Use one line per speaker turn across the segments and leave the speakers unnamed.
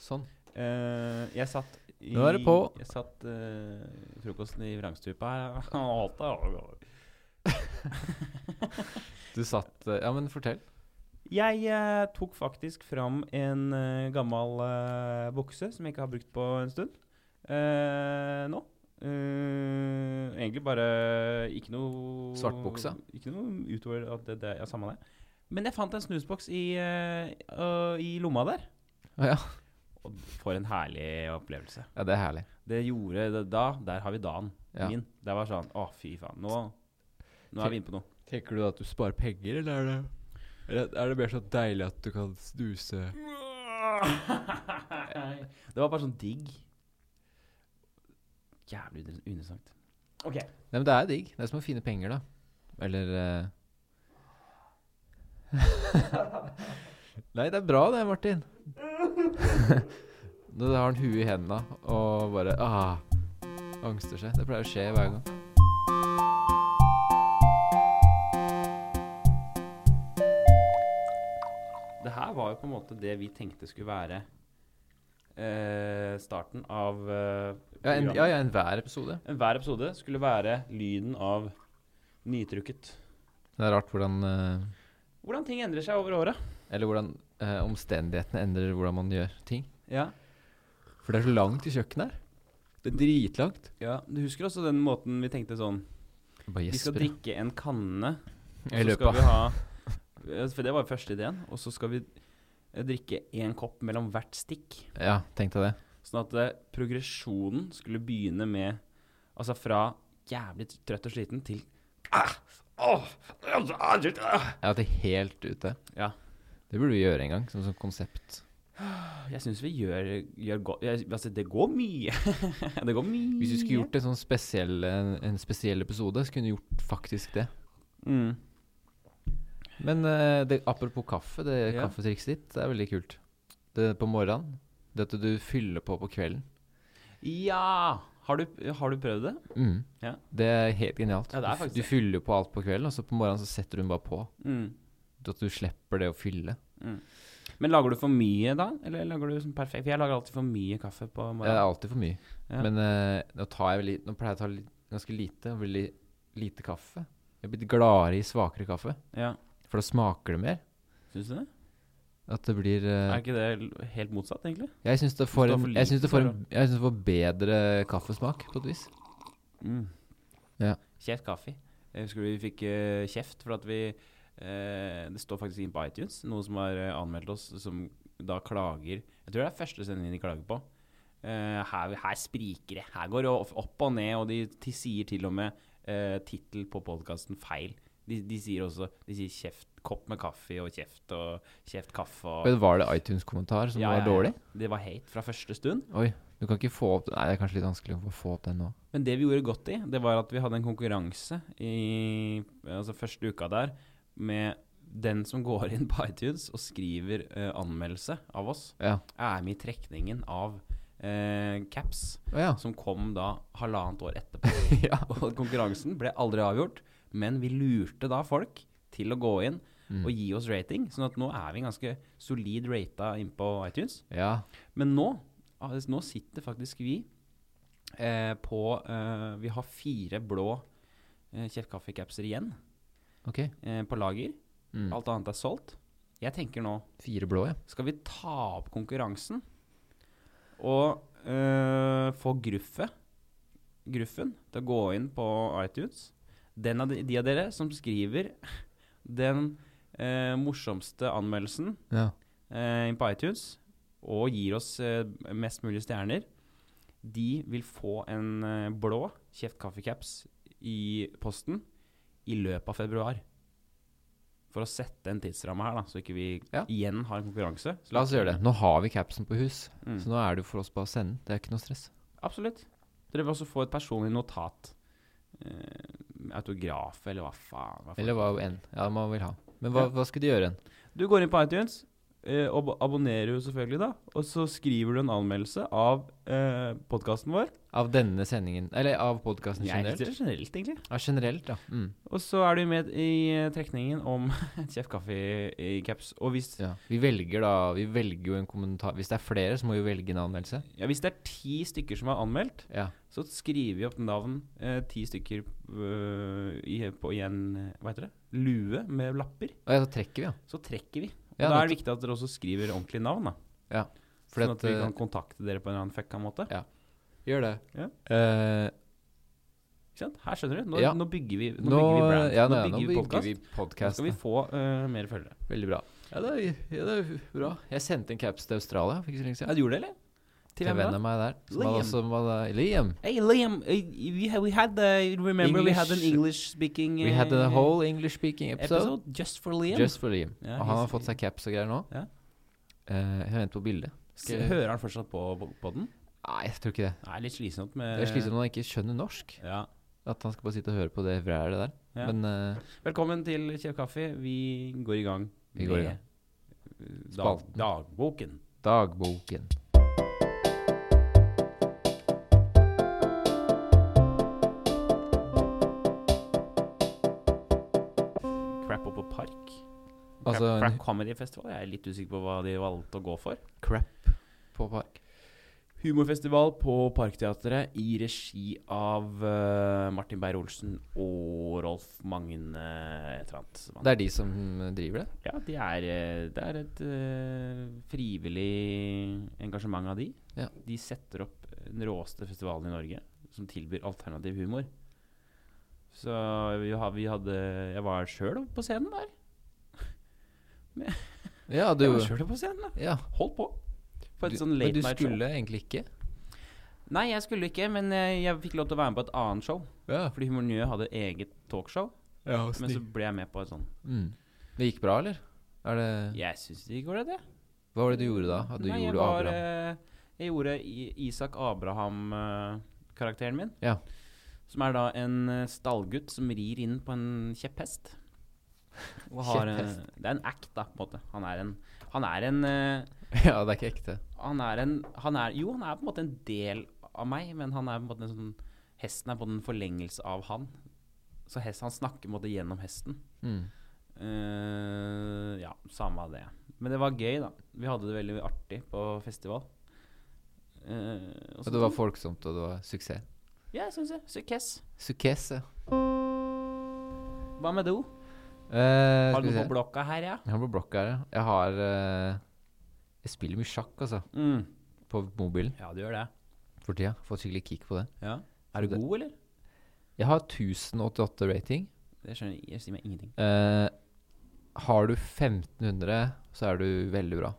Sånn.
Eh, jeg satt i,
Nå er det på.
Jeg satt eh, i frokosten i vrangstupa her. og alt er-
Du satt eh, Ja, men fortell.
Jeg eh, tok faktisk fram en eh, gammel eh, bukse som jeg ikke har brukt på en stund. eh, nå. Eh, egentlig bare ikke noe
Svart bukse?
Ikke noe utover at det, det ja, samme det. Men jeg fant en snusboks i, eh, øh, i lomma der.
Å ja.
Og for en herlig opplevelse.
ja, det er herlig.
Det gjorde det da. Der har vi dagen
Ja.
min. Det var sånn Å, fy faen. Nå, nå er vi inne på noe.
Tenker du at du sparer penger, eller er det, mer så deilig at du kan snuse
Det var bare sånn digg. Jævlig un- uinteressant. Ok.
Nei, men det er digg. Det er som å finne penger, da. Eller eh. Nei, det er bra det, Martin. Nå har han huet i hendene og bare ah, angster seg. Det pleier å skje hver gang.
Det her var jo på en måte det vi tenkte skulle være eh, starten av
Ja,
eh,
en,
programmet.
ja, ja, enhver episode.
Hver episode skulle være lyden av nytrykket.
Det er rart hvordan eh,
Hvordan ting endrer seg over året.
Eller hvordan eh, omstendighetene endrer hvordan man gjør ting.
Ja.
For det er så langt til kjøkkenet her. Det er dritlangt.
Du husker også den måten vi tenkte sånn
Jeg Bare
Vi skal
gjesper.
drikke en kanne, og
I
så
løpet
skal
av
vi ha Ja, For det var jo første ideen. Og så skal vi eh, drikke én kopp mellom hvert stikk.
Ja, tenkte jeg det.
Sånn at eh, progresjonen skulle begynne med Altså fra jævlig t- trøtt og sliten til ah, åh, ah, ah, ah.
Jeg hadde helt ute.
Ja.
Det burde vi gjøre en gang, som sånn konsept.
Jeg syns vi gjør, gjør godt altså, Det går mye. det går mye.
Hvis vi skulle gjort en sånn spesiell, en, en spesiell episode, så kunne vi gjort faktisk det.
mm.
Men eh, det, apropos kaffe, det
Ja.
kaffetrikset ditt det er veldig kult. Det på morgenen. Det at du fyller på på kvelden.
Ja! Har du, har du prøvd det?
Mm.
Ja.
Det er helt genialt.
Ja, det
Du
er
f-
faktisk
du
det.
fyller jo på alt på kvelden, og så på morgenen så setter du den bare på.
Mm.
At du slipper det å fylle.
Men lager du for mye da? Eller lager du sånn perfekt? For jeg lager alltid for mye kaffe på
Det er
morgenen.
alltid for mye.
Ja.
Men eh, nå, tar jeg veldig, nå pleier jeg å ta li, ganske lite, og veldig lite kaffe. Jeg er blitt gladere i svakere kaffe,
Ja.
for da smaker det mer.
Syns du det?
At det blir eh,
Er ikke det l- helt motsatt, egentlig?
Jeg syns det får
det er
en
for
Jeg syns
lite,
det får
da.
en Jeg syns det får bedre kaffesmak, på et vis. Ja.
Kjeft kaffe. Jeg husker vi fikk eh, kjeft for at vi eh, Det står faktisk inne på iTunes, noen som har eh, anmeldt oss, som da klager Jeg tror det er første sendingen de klager på. Eh, her, her spriker det. Her går det off- opp og ned, og de, de sier til og med uh, tittel på podkasten feil. De, de sier også De sier kjeft, 'kopp med kaffe' og 'kjeft' og 'kjeft kaffe' og
Men var det iTunes-kommentar som
Ja, ja,
var
ja.
dårlig?
Det var hate fra første stund.
Oi, du kan ikke få opp Nei, det er kanskje litt vanskelig å få opp den nå.
Men det vi gjorde godt i, det var at vi hadde en konkurranse i altså første uka der med den som går inn på iTunes og skriver eh, anmeldelse av oss,
Ja.
er med i trekningen av eh, caps,
Å ja.
som kom da halvannet år etterpå.
ja.
Og konkurransen ble aldri avgjort, men vi lurte da folk til å gå inn
Mm.
og gi oss rating, sånn at nå er vi ganske solid rata inn på iTunes.
ja.
Men nå, ah, nå sitter faktisk vi eh, på eh, Vi har fire blå eh, kjeftkaffe-capser igjen
Ok.
eh, på lager.
Mm.
Alt annet er solgt. Jeg tenker nå
Fire blå, ja.
Skal vi ta opp konkurransen og eh, få gruffet, gruffen, til å gå inn på iTunes? Den av de, de av dere som skriver den eh, morsomste anmeldelsen
ja.
eh, inn på iTunes og gir oss eh, mest mulig stjerner, de vil få en eh, blå Kjeft kaffecaps i posten i løpet av februar. For å sette en tidsramme her, da, så ikke vi
Ja.
igjen har en konkurranse.
La oss gjøre det. Nå har vi capsen på hus,
Mm.
så nå er det jo for oss bare å sende. Det er ikke noe stress.
Absolutt. Dere vil også få et personlig notat. Eh, autograf, eller hva faen. Hva faen.
Eller hva enn. Ja, man vil ha. Men hva,
Ja.
hva skal de gjøre?
Du går inn på iTunes, eh, ab abonnerer jo selvfølgelig, da. Og så skriver du en anmeldelse av eh, podkasten vår.
Av denne sendingen Eller av podkasten
Nei,
generelt?
ikke Altså, generelt, egentlig.
Ja, generelt, ja. Mm.
Og så er du med i eh, trekningen om en Kjeff Kaffe i, i caps. Og hvis,
ja. Vi velger da Vi velger jo en kommentar Hvis det er flere, så må vi velge en anmeldelse.
ja, hvis det er ti stykker som har anmeldt,
Ja.
så skriver vi opp navn eh, ti stykker øh, i, på i en hva heter det? lue med lapper.
Og ja, da trekker vi, ja.
Så trekker vi. Og
Ja,
da er det viktig at dere også skriver ordentlig navn. da
Fordi
Sånn at vi
eh,
kan kontakte dere på en eller annen fucka måte.
Gjør det.
Ja.
Eh,
Ikke sant? Her skjønner du. Nå,
Ja.
nå bygger vi Nå,
nå,
bygger vi brand.
ja,
nå
nå, ja,
bygger vi podcast.
vi
Nå
podkast.
skal vi få eh, mer følgere.
Veldig bra. Ja, det er, ja, det er bra. Jeg sendte en caps til Australia for ikke så lenge
Ja,
siden.
du gjorde det, eller?
Til en venn av meg der. Som
Liam.
hadde også var da, Liam.
Hey, Liam, eh, we had, we had eh, remember we had an
English-
English-speaking uh,
We had a whole English speaking episode,
episode just for Liam.
just for Liam.
Ja,
og han har
he's-
fått seg caps og greier nå.
Ja.
Eh, jeg venter på bildet.
S- Hører han fortsatt på podden?
Nei, jeg tror ikke uh, det.
Det er litt slitsomt med
Det er slitsomt når han ikke skjønner norsk.
Ja.
At han skal bare sitte og høre på det vrælet der.
Ja.
Men eh,
Velkommen til Kjev Kaffe. Vi går i gang
Vi går i gang.
med dag,
Spalten.
dagboken.
dagboken
Crap Up og Park.
Altså
crap, crap
en
Comedy Festival. Jeg er litt usikker på hva de valgte å gå for.
crap på park.
Humorfestival på Parkteatret i regi av eh, Martin Beyer-Olsen og Rolf Magne et eller annet.
Det er de som eh, driver det?
Ja, de er, eh, det er et eh, frivillig engasjement av de.
Ja.
De setter opp den råeste festivalen i Norge som tilbyr alternativ humor. Så vi, ha- vi hadde Jeg var sjøl på scenen der.
Ja, du
Jeg var selv på scenen da.
ja.
Holdt på. På et
Du-
sånn
Men
late
du
night show.
skulle egentlig ikke?
Nei, jeg skulle ikke, men eh, jeg fikk lov til å være med på et annet show.
Ja,
Fordi Humor Nye hadde eget talkshow.
ja
Men så ble jeg med på et sånn
mm. Det gikk bra, eller? Er det,
Jeg syns det går, det.
Hva var det du gjorde da? At du
Nei, jeg
gjorde
var
Abraham?
eh, Jeg gjorde I- Isak Abraham-karakteren min.
Ja.
Som er da en eh, stallgutt som rir inn på en kjepphest. Og har en,
Kjepphest.
det er en act, da, på en måte. Han er en Han er en eh,
ja, det er ikke ekte.
Han er en han er, Jo, han er på en måte en del av meg, men han er på en måte en sånn Hesten er på en måte en forlengelse av han. Så hest, han snakker på en måte gjennom hesten.
Mm.
Eh, ja, samme av det. Men det var gøy, da. Vi hadde det veldig artig på festival. Eh, og
Og det var folksomt, og det var suksess.
Ja, sånn jeg syns det. Sukkes.
Sukkes, ja.
Hva med do?
Eh,
Har
skal
du
vi
noe
se.
på blokka her, ja?
Jeg har på blokka her, ja. Jeg har eh, Jeg spiller mye sjakk, altså.
Mm.
På mobilen
Ja, du gjør det.
for tida. Fått skikkelig kick på det.
Ja.
Så
Er du
det-
god, eller?
Jeg har 1088 rating.
Det skjønner jeg, jeg sier meg ingenting.
Eh, har du 1500, så er du veldig bra.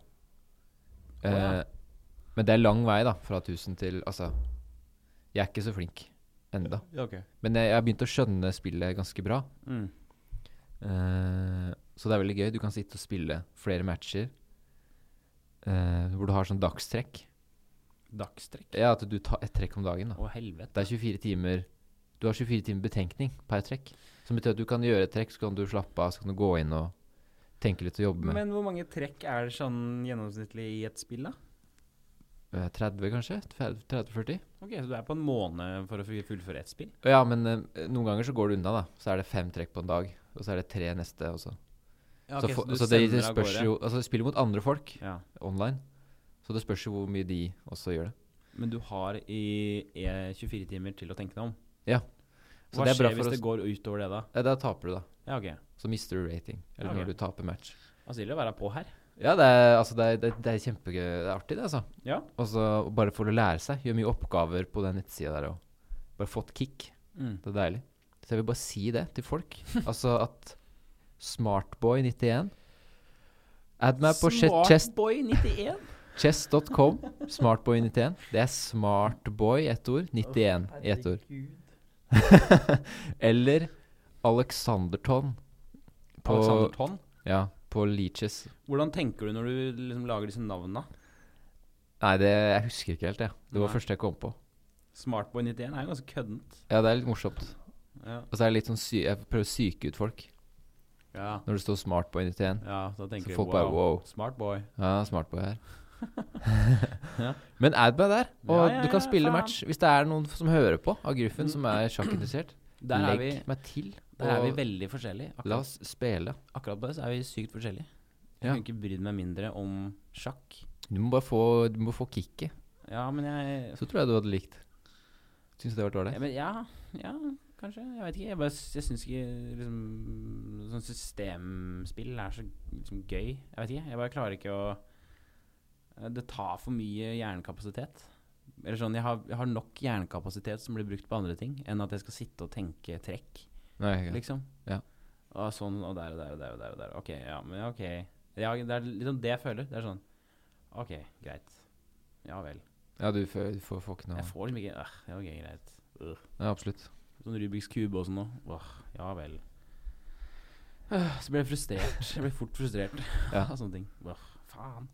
Å, ja.
Eh, Men det er lang vei, da. Fra 1000 til Altså, jeg er ikke så flink enda.
Ja, ok.
Men jeg jeg har begynt å skjønne spillet ganske bra.
Mm.
Eh, så det er veldig gøy. Du kan sitte og spille flere matcher eh, hvor du har sånn dagstrekk.
Dagstrekk.
Ja, at du tar ett trekk om dagen. da
Å, helvete.
Det er 24 timer Du har 24 timer betenkning per trekk. Som betyr at du kan gjøre et trekk, så kan du slappe av, så kan du gå inn og tenke litt og jobbe med.
Men hvor mange trekk er det sånn gjennomsnittlig i et spill, da?
Eh, 30, kanskje? 30-40?
Ok, Så du er på en måned for å fu- fullføre ett spill?
Ja, men eh, noen ganger så går det unna, da. Så er det fem trekk på en dag. Og så er det tre neste også.
Ja,
så,
ok,
for,
du
så det,
sender
det
av
spørs
gårde.
jo Altså, det spiller mot andre folk
ja.
online. Så det spørs jo hvor mye de også gjør det.
Men du har i eh, 24 timer til å tenke deg om.
Ja. Så
Hva
det er bra
skjer
for
hvis
oss-
det går utover det, da?
Ja, da taper du, da.
Ja, ok.
Så mister du rating. Eller
Ok.
når du taper match.
Altså, det gjelder å være på her.
Ja, det er, altså, det er, det er, det er kjempegøy. Det er artig, det, altså.
Ja.
Og så bare for å lære seg. Gjør mye oppgaver på den nettsida der òg. Bare fått kick.
Mm.
Det er deilig. Så jeg vil bare si det til folk. altså at Smartboy91 Add meg på che- chess-
Smartboy91.
chess.com. Smartboy91. Det er Smartboy, ett ord. 91 i ett ord. Eller Alexanderton. På,
Alexander Tonn.
ja, på Leaches.
Hvordan tenker du når du liksom lager disse navnene?
Nei, det, jeg husker ikke helt, jeg. Det var
Nei.
første jeg kom på.
Smartboy91 er jo ganske køddent.
Ja, det er litt morsomt.
Ja.
Og så er det litt sånn sy Jeg prøver å psyke ut folk.
Ja,
Når det står 'smart boy' 91.
ja da tenker
Så
jeg,
folk bare wow.
Smart boy.
Ja, smart boy her.
Ja.
Men Adba er der, og
Ja, ja,
du kan
ja,
spille
faen.
match. Hvis det er noen som hører på av Gruffen som er sjakkinteressert,
Der er,
legg
vi,
meg til.
der er vi
Og
veldig forskjellige.
la
Akkurat,
oss spille.
akkurat på det så er vi sykt forskjellige. Jeg
Ja.
kunne ikke brydd meg mindre om sjakk.
Du må bare få, du må få kicket.
Ja, men jeg
Så tror jeg du hadde likt. Syns du det hadde vært
ja,
ålreit?
men, ja, ja, kanskje. Jeg vet ikke. Jeg, bare s- jeg syns ikke liksom, sånn systemspill er så liksom, gøy. Jeg vet ikke. Jeg bare klarer ikke å eh, Det tar for mye hjernekapasitet. Eller sånn, jeg har, jeg har nok hjernekapasitet som blir brukt på andre ting, enn at jeg skal sitte og tenke trekk.
Nei, ikke.
liksom.
Ja.
Og sånn, og der og der og der og der. Og der. Ok, ja, men ja, ok. Ja, det er liksom det jeg føler. Det er sånn Ok, greit. Ja vel.
Ja, du får, du får, får ikke noe
Jeg får liksom ikke øh, Ja, ok, greit. Øh.
Ja, absolutt.
Sånn Rubiks kube og sånn nå. Åh, ja vel. Øh, Så ble jeg frustrert. Jeg ble fort frustrert
Ja.
av sånne ting. Åh, faen.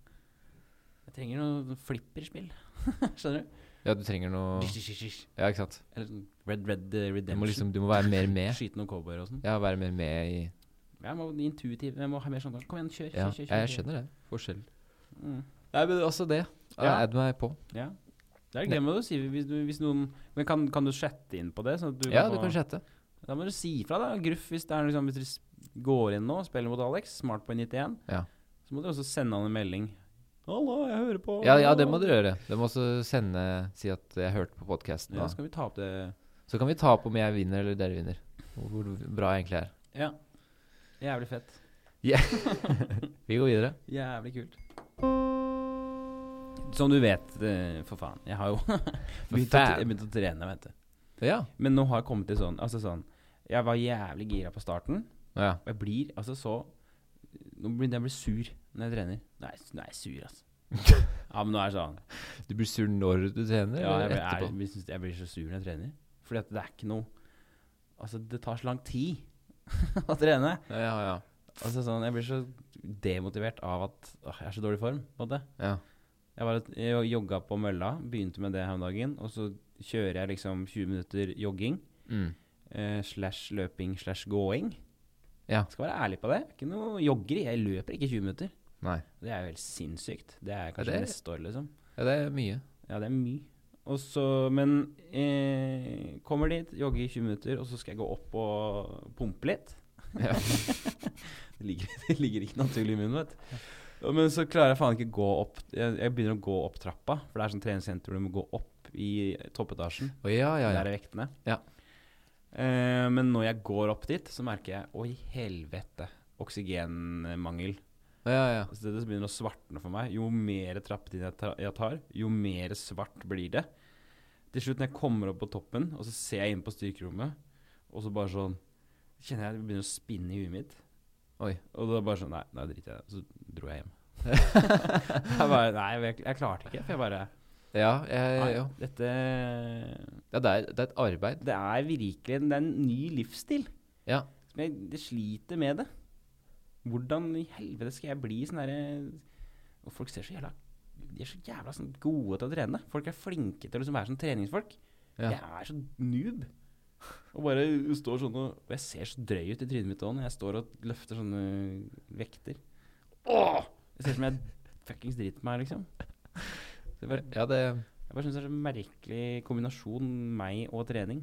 Jeg trenger noe flipperspill. Skjønner du?
Ja, du trenger noe
Dish, dish, dish, dish.
Ja, ikke sant.
Eller sånn Red Red eh,
Du må
Redemption.
liksom Du må være mer med.
Skyte noen cowboyer og sånn.
Ja, være mer med i
Jeg må intuitiv. Jeg må ha mer sånn Kom igjen, kjør, kjør,
Ja,
kjør. kjør,
jeg
kjør.
skjønner det. Forskjell.
Mm.
Nei, men også det. Ja.
Ja.
Add meg på.
Ja. Det er glemmer du å si hvis, du, hvis noen Men kan, kan du chatte inn på det? Sånn at du
Ja,
kan
du
få-
kan sjette.
Da må du si ifra, da. Gruff, hvis, det er liksom, hvis dere s- går inn nå og spiller mot Alex, smart på 91,
Ja.
så må du også sende han en melding. 'Hallo, jeg hører på.'
Ja, ja, det må dere gjøre. Dere må også sende Si at jeg hørte på podkasten.
Ja, skal vi ta opp det
Så kan vi ta på om jeg vinner eller dere vinner. Og Hvor bra jeg egentlig er.
Ja. Jævlig fett.
Vi går videre.
Jævlig kult. Som du vet, eh, for faen. Jeg har jo begynt, å,
faen.
jeg begynte å trene, vet du.
Ja.
Men nå har jeg kommet til sånn Altså sånn Jeg var jævlig gira på starten.
ja.
Og jeg blir altså så Nå blir jeg blir sur når jeg trener. Nei, s- nå er jeg sur, altså. ja, men nå er det sånn.
Du blir sur når du trener,
Ja, jeg,
eller
blir, er,
etterpå?
jeg, synes- jeg blir så sur når jeg trener. Fordi at det er ikke noe Altså, det tar så lang tid å trene.
Ja, ja, ja.
Altså sånn, Jeg blir så demotivert av at åh, jeg er så dårlig i form. på en måte.
ja.
Jeg, var, jeg jogga på mølla, begynte med det her om dagen. Og så kjører jeg liksom 20 minutter jogging
Mm.
eh, slash løping slash gåing.
Ja.
Skal være ærlig på det. Ikke noe joggeri. Jeg løper ikke 20 minutter.
Nei.
Det er jo helt sinnssykt. Det er kanskje
det er-
neste år, liksom.
Ja, det er mye.
Ja, det er mye. Og så, men eh, kommer dit, jogger i 20 minutter, og så skal jeg gå opp og pumpe litt.
Ja.
det, ligger, det ligger ikke naturlig i munnen, vet du. Og- Men så klarer jeg faen ikke gå opp jeg, jeg begynner å gå opp trappa, for det er sånn treningssenter hvor du må gå opp i toppetasjen.
Å ja, ja, ja.
Der er vektene.
Ja.
Eh, men når jeg går opp dit, så merker jeg Oi, helvete. Oksygenmangel.
Å, ja, ja.
Så det begynner å svartne for meg. Jo mer trappetrinn jeg ta- jeg tar, jo mer svart blir det. Til slutt, når jeg kommer opp på toppen, og så ser jeg inn på styrkerommet, og så bare sånn Kjenner jeg det begynner å spinne i huet mitt.
Oi.
Og da bare sånn Nei, da driter jeg i det. Så dro jeg hjem. jeg bare, nei, jeg, jeg klarte ikke. For jeg bare
Ja, jeg,
nei,
ja.
Dette
ja det, er, det er et arbeid.
det er virkelig en, det er en ny livsstil.
Ja.
Som jeg, jeg sliter med det. Hvordan i helvete skal jeg bli sånn derre Og folk ser så jævla De er så jævla sånn gode til å trene. Folk er flinke til å liksom være sånn treningsfolk.
Ja.
Jeg er så noob. Og bare står sånn og Og jeg ser så drøy ut i trynet mitt òg når jeg står og løfter sånne vekter. Åh! Jeg ser ut som jeg fuckings driter meg, liksom. Så jeg bare
Ja, det
jeg bare synes det er en merkelig kombinasjon meg og trening.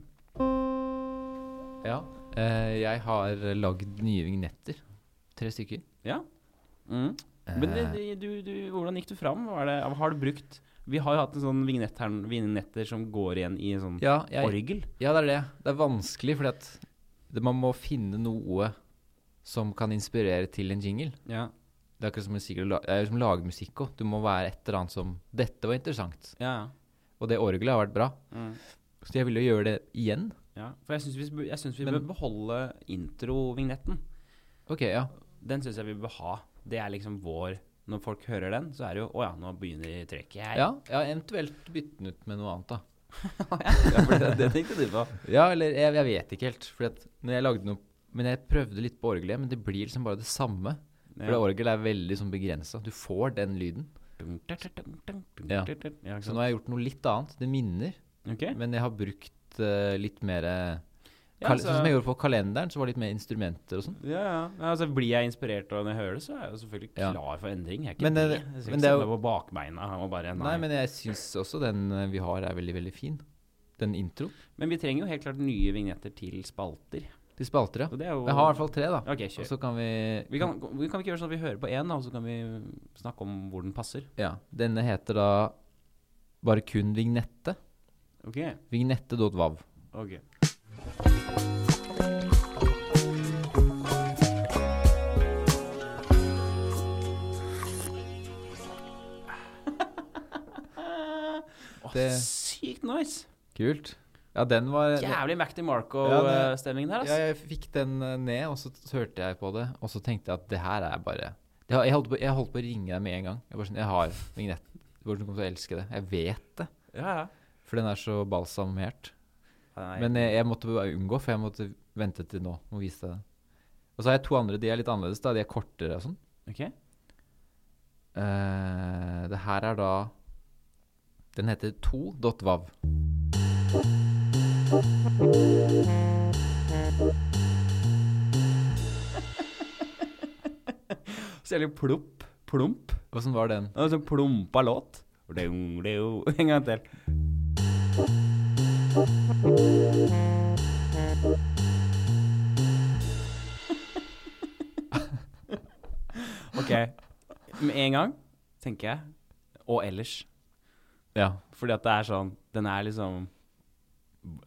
Ja. Eh, Jeg har lagd nye vignetter. Tre stykker.
Ja. Mm. Men det, det, du, du, hvordan gikk du fram? Var det, har du brukt Vi har jo hatt en sånn vignett her, vignetter som går igjen i en sånn
Eh, Ja, jeg,
orgel.
Ja, det er det. Det er vanskelig, fordi at det, man må finne noe som kan inspirere til en jingle.
Ja.
Det er akkurat som musikk, det er jo som lagmusikk òg. Du må være et eller annet som Dette var interessant.
Ja,
Og det orgelet har vært bra.
ja. Mm.
Så jeg ville jo gjøre det igjen.
ja. For jeg syns vi, bør- jeg synes vi
Men-
bør beholde introvignetten.
Ok, ja.
Den syns jeg vi bør ha. Det er liksom vår Når folk hører den, så er det jo Å ja, nå begynner trekket her.
Ja, ja eventuelt bytte den ut med noe annet, da.
ja for det, det tenkte du på.
Ja, eller jeg, jeg vet ikke helt. Fordi at når jeg lagde noe Men jeg prøvde litt på orgelet, men det blir liksom bare det samme. For det
Ja.
orgelet er veldig sånn begrensa. Du får den lyden. Ja.
Ja. ikke
Så nå har jeg gjort noe litt annet. Det minner.
sant? Ok.
Men jeg har brukt eh, litt mer eh,
Ja,
Kal
så-
Sånn som jeg gjorde på kalenderen, så var det litt mer instrumenter og sånn.
Ja, ja. Nei, altså, blir jeg inspirert av når jeg hører det, så er jeg jo selvfølgelig
Ja.
klar for endring. Jeg er ikke
Men det-
eh, det.
men
Jeg skal ikke
det er
sette
jo-
meg på bakbeina og bare nei.
Nei, men jeg syns også den eh, vi har, er veldig, veldig fin. Den introen
Men vi trenger jo helt klart nye vignetter til spalter.
til spalter, ja.
Og det er jo
Jeg har i hvert fall Altså- tre, da.
Ok,
Og
kjør.
så kan vi,
Vi kan, kan vi ikke gjøre sånn at vi hører på én, da, og så kan vi snakke om hvor den passer?
Ja. Denne heter da bare kun Vignette.
Ok.
Vignette.vav.
ok. Åh,
Det-
Sykt nice!
Kult. Ja, den var
Jævlig Mac
Ja, det-
DeMarco-stemningen her. ass.
Ja, jeg fikk den eh, ned, og så t- hørte jeg på det, og så tenkte jeg at det her er bare det har, jeg, holdt på, jeg holdt på å ringe deg med en gang. Jeg, bare sånn, jeg har vignett. Hvordan kommer du til å elske det? Jeg vet det,
Ja, ja.
for den er så balsamert.
Nei.
Men jeg, jeg måtte bare unngå, for jeg måtte vente til nå med å vise deg det. Og så har jeg to andre, de er litt annerledes, da. De er kortere og sånn.
Ok.
Eh, det her er da Den heter 2.vav.
Så gjelder det plopp. Plump.
Åssen var den?
Det er en sånn plumpa låt. Ding, ding. En gang til. OK. Med en gang, tenker jeg. Og ellers.
Ja.
Fordi at det er sånn Den er liksom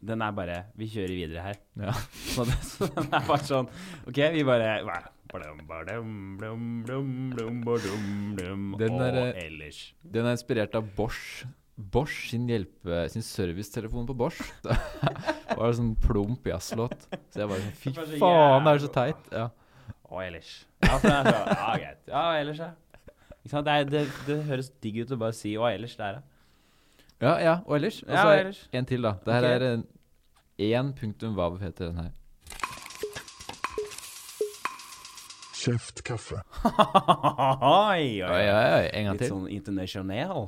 Den er bare Vi kjører videre her.
Ja.
Så, det, så den er bare sånn OK, vi bare hva? Blum, blum, blum, blum, blum, blum, blum,
Den
og
er, eh,
ellers.
Den er inspirert av Bosch. Bosch sin, hjelpe, sin servicetelefon på Bosch. Det var en sånn plump jazzlåt. Så jeg bare sånn Fy
Det var så
faen, det er så
jævla-
teit. Ja.
Og ellers. Ja, for den er så, ja greit. Ja, og ellers, ja. Ikke sant? Det, er, det, det høres digg ut å bare si 'og ellers' der, ja.
ja, ja. Og ellers? Og
Ja,
så
og
er
ellers.
en til, da. Det her
Ok.
er en- én punktum vav, heter den her.
Kjeftkaffe.
Oi,
Oi,
oi, oi. En gang
Litt
til.
sånn internasjonal.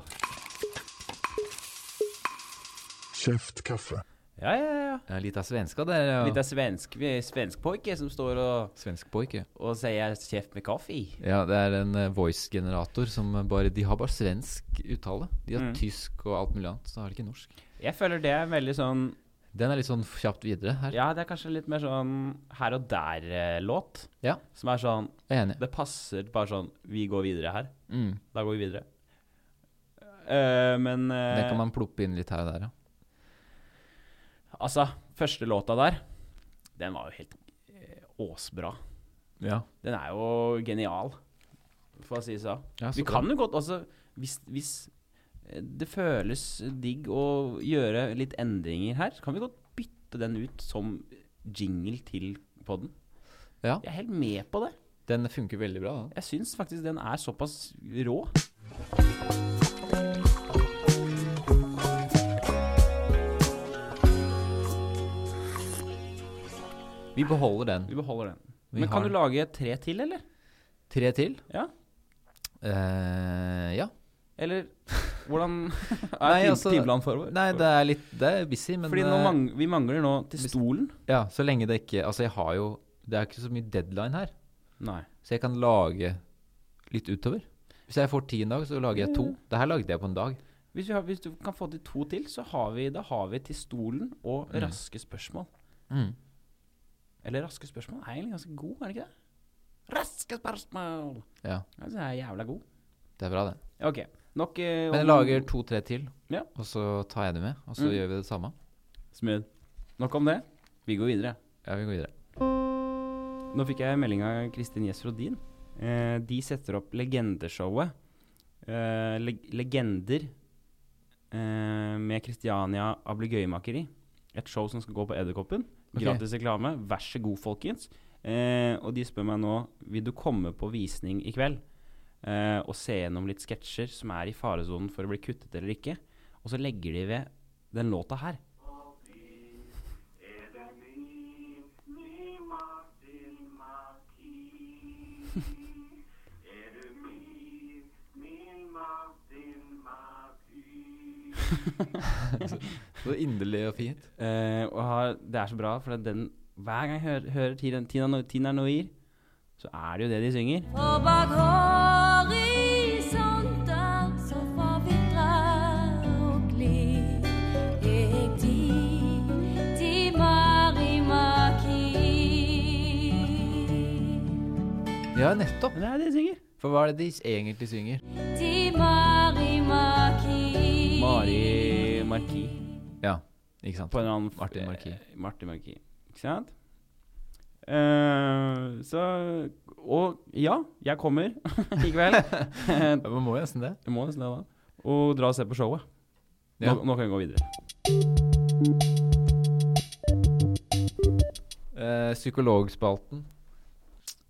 Kjeftkaffe.
Ja, ja, ja.
Ja, sånn- litt av svenska der. Ja.
Litt av svensk, vi er svenskpojke som står og,
Svensk pojke.
og sier 'kjeft med kaffe'.
Ja, det er en eh, voice-generator som eh, bare De har bare svensk uttale. De har
Mm.
tysk og alt mulig annet, så har de ikke norsk.
Jeg føler det er veldig sånn
Den er litt sånn kjapt videre her.
Ja, det er kanskje litt mer sånn her og der-låt.
Ja.
Som er sånn
Jeg er enig.
Det passer bare sånn Vi går videre her.
Mm.
Da går vi videre. Eh, men eh,
Den kan man ploppe inn litt her og der, ja.
Altså, første låta der, den var jo helt eh, åsbra.
Ja.
Den er jo genial, for å si det sånn.
Ja, så
Vi
bra.
kan jo godt også hvis, hvis eh, det føles digg å gjøre litt endringer her, så kan vi godt bytte den ut som jingle til podden.
Ja.
Jeg er helt med på det.
Den funker veldig bra, da.
Jeg syns faktisk den er såpass rå.
Vi beholder den.
Vi beholder den.
Vi
Men
har
kan du
den.
lage tre til, eller?
Tre til?
Ja.
Eh, ja.
Eller hvordan er
Nei,
Nei,
altså-
timeplanen forover?
Nei, det er litt Det er busy, men
Fordi nå
eh,
mang vi mangler nå til
hvis-
stolen.
Ja, så lenge det ikke Altså, jeg har jo Det er ikke så mye deadline her,
Nei.
så jeg kan lage litt utover. Hvis jeg får ti en dag, så lager jeg to. Det her lagde jeg på en dag.
Hvis, vi har, hvis du kan få til to til, så har vi, da har vi til stolen og
Mm.
raske spørsmål. Eller raske spørsmål er egentlig ganske god, er det ikke det? Raske spørsmål!
Ja,
Ja, Den er jævla god.
det er bra, det.
Ok, nok eh,
Men jeg
om-
lager to-tre til,
Ja.
og så tar jeg det med. Og så
Mm.
gjør vi det samme.
Smooth. Nok om det. Vi går videre.
Ja, vi går videre.
Nå fikk jeg melding av Kristin Jesrodin. Eh, de setter opp Legendeshowet. Eh, leg legender eh, med Kristiania Ablegøyemakeri. Et show som skal gå på Edderkoppen.
Ok.
Gratis reklame. Vær så god, folkens. Eh, og de spør meg nå Vil du komme på visning i kveld eh, og se gjennom litt sketsjer som er i faresonen for å bli kuttet eller ikke. Og så legger de ved den låta her.
Er du min, min Martin Martin?
Så inderlig og fint.
Eh, og har, det er så bra, for at den, hver gang jeg hører, hører Tina, Tina, No- Tina Noir, så er det jo det de synger.
For bak horisonter så forvitrer og glir jeg de, de marimaki.
Ja, nettopp.
Det er det de synger.
For hva er det de egentlig synger?
De marimaki.
Mari Marki.
Ja, ikke sant.
På en eller annen
Martin Marquis.
eh, Martin Marquis. Ikke sant? Eh, så Og ja, jeg kommer i kveld.
Ja, Man må jo nesten det.
Jeg må nesten det, da. Og dra og se på showet.
Ja.
Nå, nå kan vi gå videre.
Eh, psykologspalten.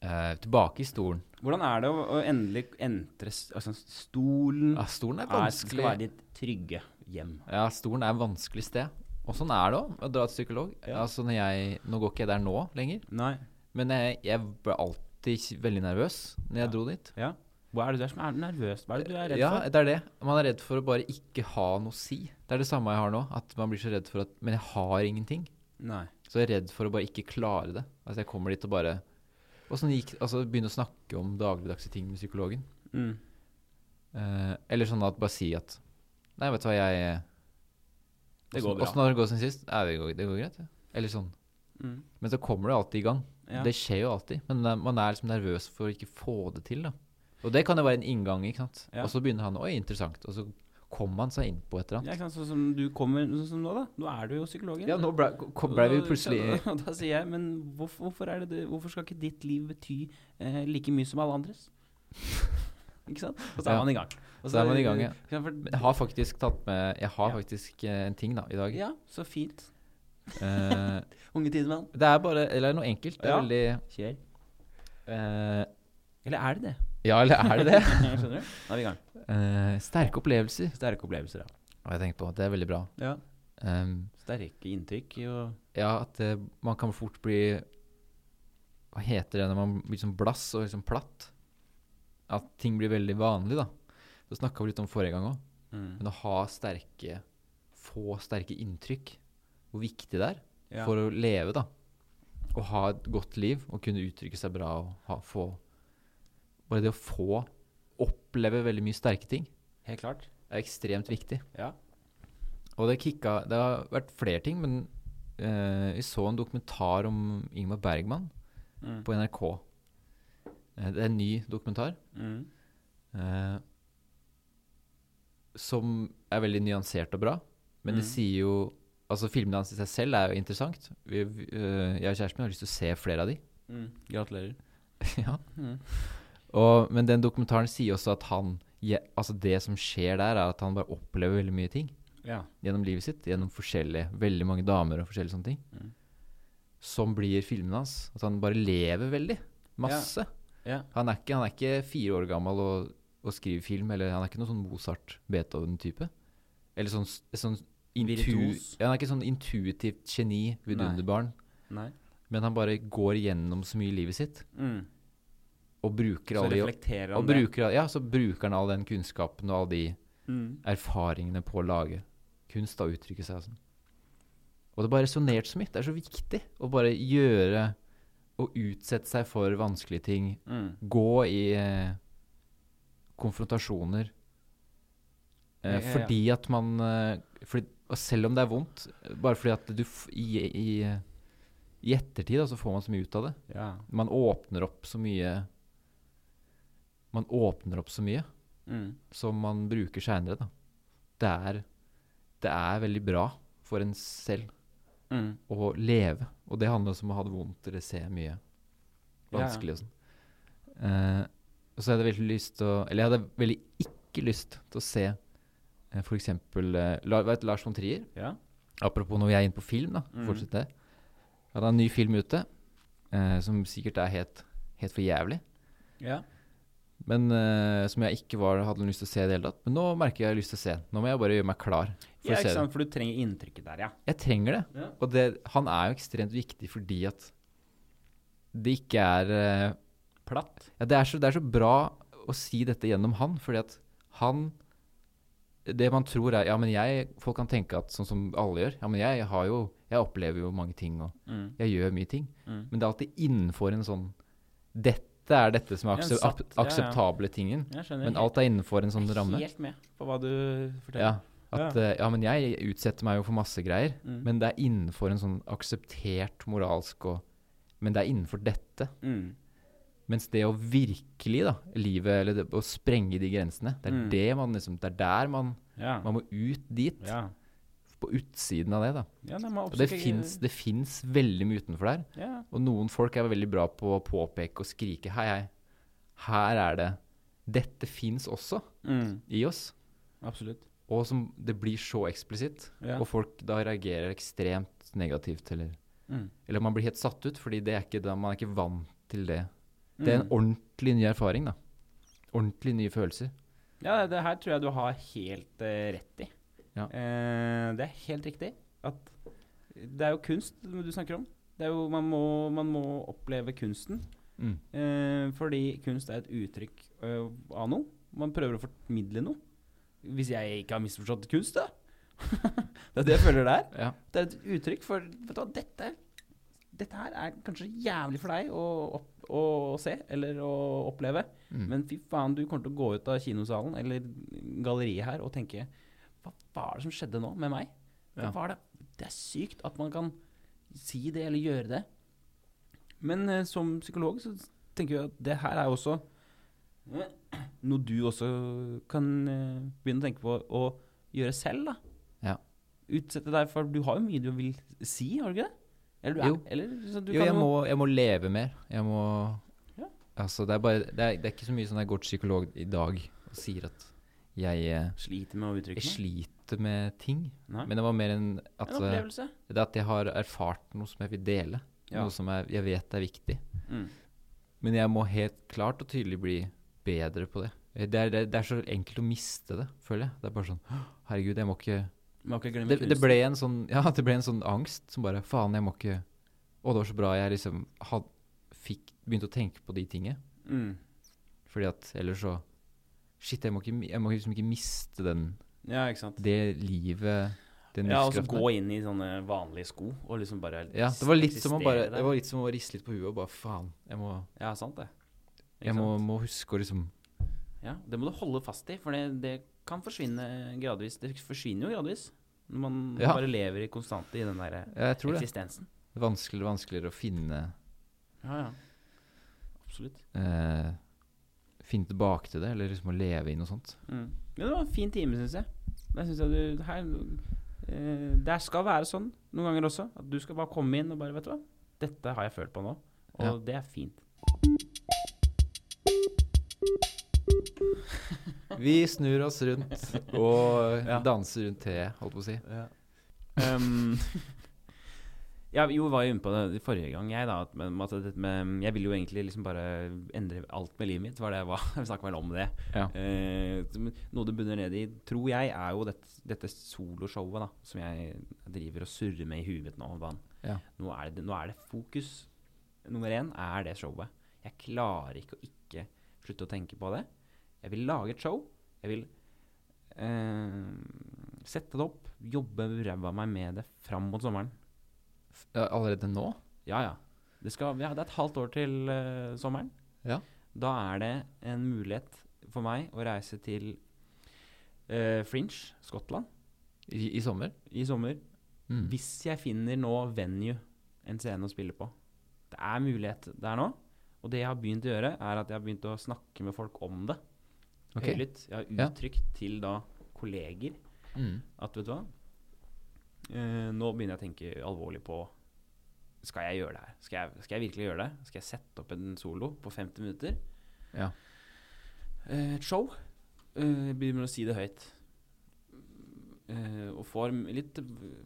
Eh, tilbake i stolen.
Hvordan er det å, å endelig entre s- altså, stolen
Ja, stolen Ah, er
er, skal
vanskelig.
være ditt trygge hjem?
Ja, stolen er et vanskelig sted. Og sånn er det òg, å dra til psykolog.
Ja.
Altså, når jeg, nå går ikke jeg der nå lenger,
Nei.
men jeg, jeg ble alltid veldig nervøs når jeg dro dit.
Ja. Hva er det du er som er nervøs? Hva er det du er redd
ja,
for?
det er det. Man er redd for å bare ikke ha noe å si. Det er det samme jeg har nå. At man blir så redd for at Men jeg har ingenting.
Nei.
Så jeg er redd for å bare ikke klare det. Altså, jeg kommer dit og bare Og sånn gikk Altså, begynne å snakke om dagligdagse ting med psykologen.
Mm.
Eh, eller sånn at bare si at Nei, vet du hva, jeg
Det går bra.
Åssen har det gått siden sist? Nei, det går, det går greit, ja. Eller sånn.
Mm.
Men så kommer det alltid i gang.
Ja.
Det skjer jo alltid. Men det er- man er liksom nervøs for å ikke få det til, da. Og det kan jo være en inngang, ikke sant.
Ja.
Og så begynner han Oi, interessant. Og så kommer man seg inn på et eller
Ja,
annet.
ikke sant? Sånn som du kommer sånn som nå, da. Nå er du jo psykologen.
Ja, nå ble, kom- ble vi plutselig
Da, da sier jeg, men hvorfor, hvorfor, er det det, hvorfor skal ikke ditt liv bety eh, like mye som alle andres? ikke sant? Og så er
Ja.
man i gang. Og
Så er man i gang, ja.
ikke sant, for-
Men Jeg har faktisk tatt med Jeg har
Ja.
faktisk eh, en ting, da, i dag.
Ja, så fint.
Eh,
Unge tidemann.
det er bare Eller noe enkelt. Det er
Ja.
veldig
Kjør.
eh,
Eller er det det?
Ja, eller er det det?
Skjønner du? Da er vi i gang.
Eh, sterke opplevelser.
Sterke opplevelser, ja.
Og jeg tenker på, Det er veldig bra.
ja.
Um,
Sterke inntrykk og
Ja, at eh, man kan fort bli Hva heter det når man blir sånn blass og liksom platt? At ting blir veldig vanlig, da. Det snakka vi litt om forrige gang òg.
mm.
Men å ha sterke Få sterke inntrykk, hvor viktig det er
Ja.
for å leve, da. Å ha et godt liv og kunne uttrykke seg bra og ha, få Bare det å få oppleve veldig mye sterke ting
Helt klart.
er ekstremt viktig.
Ja.
Og det kicka Det har vært flere ting, men eh, vi så en dokumentar om Ingmar Bergman
Mm.
på NRK. Eh, det er en ny dokumentar
Mm.
eh, som er veldig nyansert og bra, men det
Mm.
sier jo Altså, filmene hans i seg selv er jo interessant. Vi, vi, eh, jeg og kjæresten min har lyst til å se flere av de.
Mm. Gratulerer.
ja.
Mm.
og, men den dokumentaren sier også at han je- Altså, det som skjer der, er at han bare opplever veldig mye ting.
Ja.
gjennom livet sitt, gjennom forskjellige, veldig mange damer og forskjellige sånne ting,
Mm.
som blir filmen hans. At han bare lever veldig. Masse.
Ja.
Han, er ikke, han er ikke fire år gammel og, og skriver film, eller han er ikke noen sånn Mozart-Beethoven-type. Eller sånn, s- sånn intu,
Virtuos.
ja, Han er ikke sånn intuitivt geni, vidunderbarn,
Nei.
men han bare går gjennom så mye i livet sitt,
Mm.
og bruker
Så
alle de-
reflekterer
og
han det.
bruker, ja, så bruker han all den kunnskapen og alle de
Mm.
erfaringene på å lage kunst da, uttrykke seg og sånn. Og det bare resonnerte så mye. Det er så viktig å bare gjøre og utsette seg for vanskelige ting.
Mm.
Gå i eh, konfrontasjoner. Eh,
Ja, ja, ja.
Fordi at man eh, fordi, Og selv om det er vondt, eh, bare fordi at du f i, i, eh, i ettertid da, så får man så mye ut av det.
Ja.
Man åpner opp så mye Man åpner opp så mye
Mm.
som man bruker seinere, da. Det er, det er veldig bra for en selv
Mm.
å leve. Og det handler også om å ha det vondt eller se mye
Ja, ja.
vanskelig og sånn. Eh, og så hadde jeg veldig lyst til å Eller jeg hadde veldig ikke lyst til å se eh, for eksempel eh, La- vet du Lars von Trier. Mm.
Ja.
Apropos når vi er inne på film, da.
Mhm.
Fortsett der. Han har en ny film ute eh, som sikkert er helt, helt for jævlig.
Ja.
Men eh, som jeg ikke var, hadde lyst til å se i det hele tatt. Men nå merker jeg jeg har lyst til å se den. Nå må jeg bare gjøre meg klar. for
ja,
å se
ikke
den.
sant, for du trenger inntrykket der, ja.
Jeg trenger det.
Ja.
Og det, han er jo ekstremt viktig fordi at det ikke er eh,
Platt.
ja, det, er så, det er så bra å si dette gjennom han, fordi at han det man tror er Ja, men jeg Folk kan tenke at sånn som alle gjør. Ja, men jeg har jo Jeg opplever jo mange ting, og
Mm.
jeg gjør mye ting.
Mm.
Men det er alltid innenfor en sånn Dette er dette som er
Ja, en
akse ap-
satt- ja, ja.
akseptable tingen.
Jeg skjønner.
Men alt er innenfor en sånn
helt,
ramme.
Helt med på hva du
Ja,
forteller.
at,
Ja.
eh, ja, men jeg utsetter meg jo for masse greier.
Mm.
Men det er innenfor en sånn akseptert moralsk og Men det er innenfor dette.
Mm.
Mens det å virkelig, da, livet Eller det, å sprenge de grensene, det er
Mm.
det man liksom Det er der man
Ja.
Man må ut dit.
ja.
På utsiden av det, da.
ja nei, man
Og det
oppsøker-
fins- det fins veldig mye utenfor der.
ja.
Og noen folk er veldig bra på å påpeke og skrike hei, hei, her er det Dette fins også
Mm.
i oss.
Absolutt.
Og som det blir så eksplisitt.
Ja.
Og folk da reagerer ekstremt negativt, eller
Mm.
Eller man blir helt satt ut, fordi det er ikke, da- man er ikke vant til det.
Mm.
Det er en ordentlig ny erfaring, da. Ordentlig nye følelser.
Ja, det her tror jeg du har helt eh, rett i.
Ja.
Eh, det er helt riktig. At det er jo kunst du snakker om. Det er jo, man, må, man må oppleve kunsten.
Mm.
Eh, fordi kunst er et uttrykk eh, av noe. Man prøver å formidle noe. Hvis jeg ikke har misforstått kunst, da. det er det jeg føler det er.
Ja.
Det er et uttrykk for vet du hva, dette, dette her er kanskje jævlig for deg å, opp, å se eller å oppleve.
Mm.
Men fy faen, du kommer til å gå ut av kinosalen eller galleriet her og tenke Hva var det som skjedde nå med meg? Hva
Ja.
var det? det er sykt at man kan si det eller gjøre det. Men eh, som psykolog så tenker jeg at det her er også noe du også kan eh, begynne å tenke på å gjøre selv, da.
Ja.
Utsette deg for Du har jo mye du vil si, har du ikke det? Eller du er,
Jo.
Eller, så du
Jo,
kan
jeg må, jeg må leve mer. Jeg må
Ja.
Altså, det er bare Det er, det er ikke så mye sånn jeg går til psykolog i dag og sier at jeg, eh,
slite med å uttrykke
jeg
noe.
sliter med ting.
Nei.
Men det var mer enn at, eh,
En opplevelse.
det er at jeg har erfart noe som jeg vil dele.
Ja.
Noe som jeg, jeg vet er viktig.
Mm.
Men jeg må helt klart og tydelig bli bedre på det. Eh, Det er, det, er- det er så enkelt å miste det, føler jeg. Det er bare sånn «Åh, Herregud, jeg må ikke
Man kan ikke glemme
det, det
kunsten.
ble en sånn Ja, det ble en sånn angst som bare Faen, jeg må ikke Å, det var så bra jeg liksom had, fikk Begynte å tenke på de tingene.
Mm.
Fordi at ellers så Shit, jeg må, ikke, mi- jeg må liksom ikke miste den
Ja, ikke sant.
det livet Den
Ja, og så
livskraften.
gå inn i sånne vanlige sko og liksom bare
Ja, det var litt som å bare
eksistere der.
Det var litt som å riste litt på huet og bare Faen, jeg må,
Ja, sant det. Ikke
jeg må,
sant?
må huske å liksom
Ja, det må du holde fast i, for det, det kan forsvinne gradvis. Det forsvinner jo gradvis. Når man
Ja.
bare lever i konstant i den der
Ja, jeg tror det.
eksistensen.
Det er Vanskeligere og vanskeligere å finne
Ja, ja. Absolutt.
eh, Finne tilbake til det, eller liksom å leve i noe sånt.
Mm. Men det var en fin time, syns jeg. Der synes jeg du her, eh, Der skal være sånn noen ganger også. At du skal bare komme inn og bare Vet du hva, dette har jeg følt på nå, og
Ja.
det er fint.
Vi snur oss rundt og
Ja.
danser rundt teet, holdt på å si.
Um, ja, jo, var jo inne på det forrige gang, jeg, da. At, men at dette med, jeg ville jo egentlig liksom bare endre alt med livet mitt. Var det jeg var. Vi snakket vel om det.
Ja.
Eh, som- noe det bunner ned i, tror jeg, er jo dette, dette soloshowet da, som jeg driver og surrer med i huet mitt nå. om dagen.
Ja.
Nå, er det, nå er det fokus. Nummer én er det showet. Jeg klarer ikke å ikke slutte å tenke på det. Jeg vil lage et show. Jeg vil eh, sette det opp, jobbe ræva av meg med det fram mot sommeren.
Ja, Allerede nå?
Ja, ja. Det, skal, ja, det er et halvt år til eh, sommeren.
Ja.
Da er det en mulighet for meg å reise til eh, Fringe, Skottland,
I, i sommer?
i sommer.
Mm.
Hvis jeg finner nå venue, en scene å spille på. Det er mulighet der nå. Og det jeg har begynt å gjøre, er at jeg har begynt å snakke med folk om det.
Ok.
Høylytt. Jeg har
Ja.
uttrykt til da kolleger
Mm.
at vet du hva Eh, Nå begynner jeg å tenke alvorlig på Skal jeg gjøre det her? Skal jeg, skal jeg virkelig gjøre det? Skal jeg sette opp en solo på 50 minutter?
Ja.
Eh, Et show. Eh, Jeg begynner å si det høyt. Eh, og får m- litt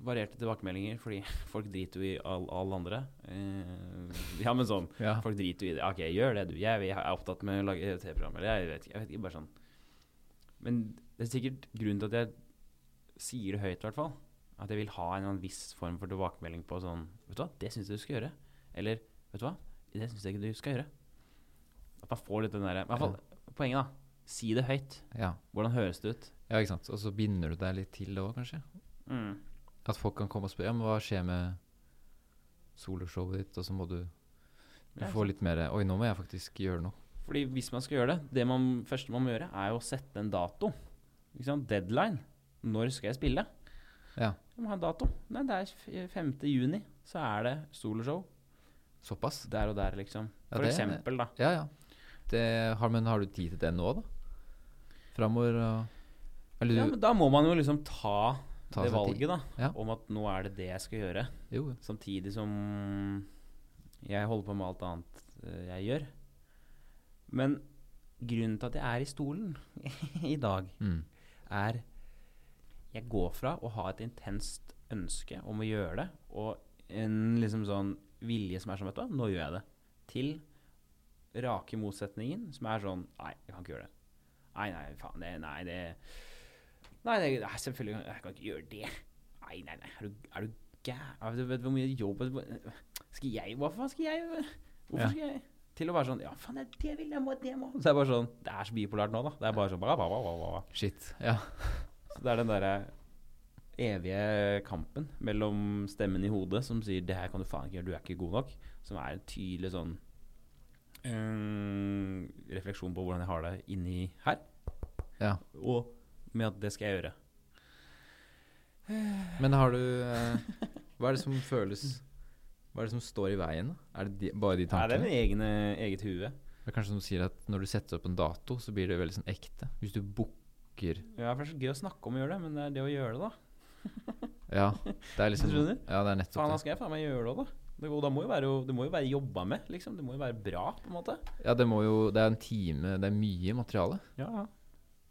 varierte tilbakemeldinger, fordi folk driter jo i all- alle andre. Eh, ja, men sånn
Ja.
Folk driter jo i det. OK, gjør det, du. Jeg, jeg er opptatt med å lage TV-program. Eller jeg vet ikke. Jeg vet ikke bare sånn. Men det er sikkert grunnen til at jeg sier det høyt, i hvert fall. At jeg vil ha en eller annen viss form for tilbakemelding på sånn Vet du hva, det syns jeg du skal gjøre. Eller vet du hva, det syns jeg ikke du skal gjøre. At man får litt den derre I hvert fall poenget, da. Si det høyt.
Ja.
Hvordan høres det ut?
ja, ikke sant. Og så binder du deg litt til det òg, kanskje.
Mm.
At folk kan komme og spørre ja, men hva skjer med soloshowet ditt, og så må du, du
Ja,
få litt mer Oi, nå må jeg faktisk gjøre noe.
Fordi hvis man skal gjøre det, det man, første man må gjøre, er jo å sette en dato. Ikke sant? Deadline. Når skal jeg spille?
Ja.
Jeg må ha en dato. Nei, det er f- 5. juni, så er det soloshow.
Såpass.
Der og der, liksom.
Ja,
For
det-
eksempel, da.
Ja, ja. Det, har, men har du tid til det nå, da? Framover og Eller du
Ja, men da må man jo liksom ta,
Ta
det
seg tid.
valget, da.
Ja.
Om at nå er det det jeg skal gjøre.
Jo, jo.
Samtidig som jeg holder på med alt annet eh, jeg gjør. Men grunnen til at jeg er i stolen i dag,
Mm.
er Jeg går fra å ha et intenst ønske om å gjøre det, og en liksom sånn vilje som er sånn Vet du hva, nå gjør jeg det. Til rake motsetningen, som er sånn Nei, jeg kan ikke gjøre det. Nei, nei, faen. Det, nei, det Nei, det, nei selvfølgelig kan- Jeg kan ikke gjøre det. Nei, nei, nei. Er du, er du gæren? Du vet hvor mye jobb Skal jeg Hva faen skal jeg gjøre? Hvorfor
Ja.
skal jeg Til å være sånn Ja, faen, det, det vil jeg, må, det må Så det er bare sånn Det er så bipolært nå, da. Det er bare sånn ba, ba, ba, ba, ba.
Shit. Ja.
Så det er den derre evige kampen mellom stemmen i hodet som sier 'det her kan du faen ikke gjøre, du er ikke god nok', som er en tydelig sånn eh, refleksjon på hvordan jeg har det inni her,
ja.
og med at det skal jeg gjøre.
Men har du eh, Hva er det som føles Hva er det som står i veien? da? Er det de, bare de
Nei, det er
tankene?
med egne, eget hue.
det er kanskje som sier at når du setter opp en dato, så blir det veldig sånn ekte. Hvis du booker
Ja, for det er så gøy å snakke om å gjøre det, men det er det å gjøre det, da.
Ja, det er liksom
Skjønner
Ja, det er
Faen, da
nettopp det.
skal jeg faen meg gjøre det òg, da. Det, og da må jo være, jo- det må jo være jobba med, liksom. Det må jo være bra, på en måte.
Ja, det må jo Det er en time Det er mye materiale.
Ja, ja.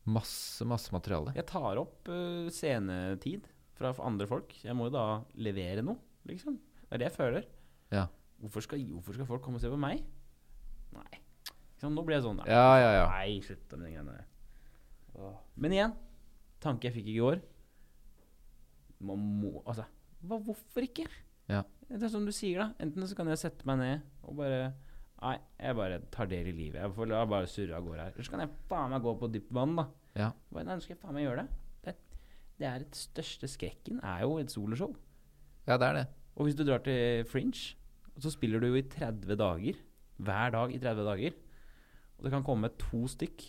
Masse, masse materiale.
Jeg tar opp eh, scenetid fra f- andre folk. Jeg må jo da levere noe, liksom. Det er det jeg føler.
Ja.
Hvorfor skal, hvorfor skal folk komme og se på meg? Nei. Ikke sant, nå blir jeg sånn. Nei,
Ja, ja, ja.
nei slutt med de greiene der. Åh. Men igjen, tanke jeg fikk i går Man må Altså, hva, hvorfor ikke?
Ja.
Det er som du sier, da. Enten så kan jeg sette meg ned og bare Nei, jeg bare tar del i livet. Jeg får la bare surre av gårde her. Eller så kan jeg faen meg gå på dypt vann, da.
Ja.
Hva- Nei, nå skal jeg faen meg gjøre det. Det, det er et største skrekken er jo et soloshow.
ja, det er det.
Og hvis du drar til Fringe, så spiller du jo i 30 dager. Hver dag i 30 dager. Og det kan komme to stykk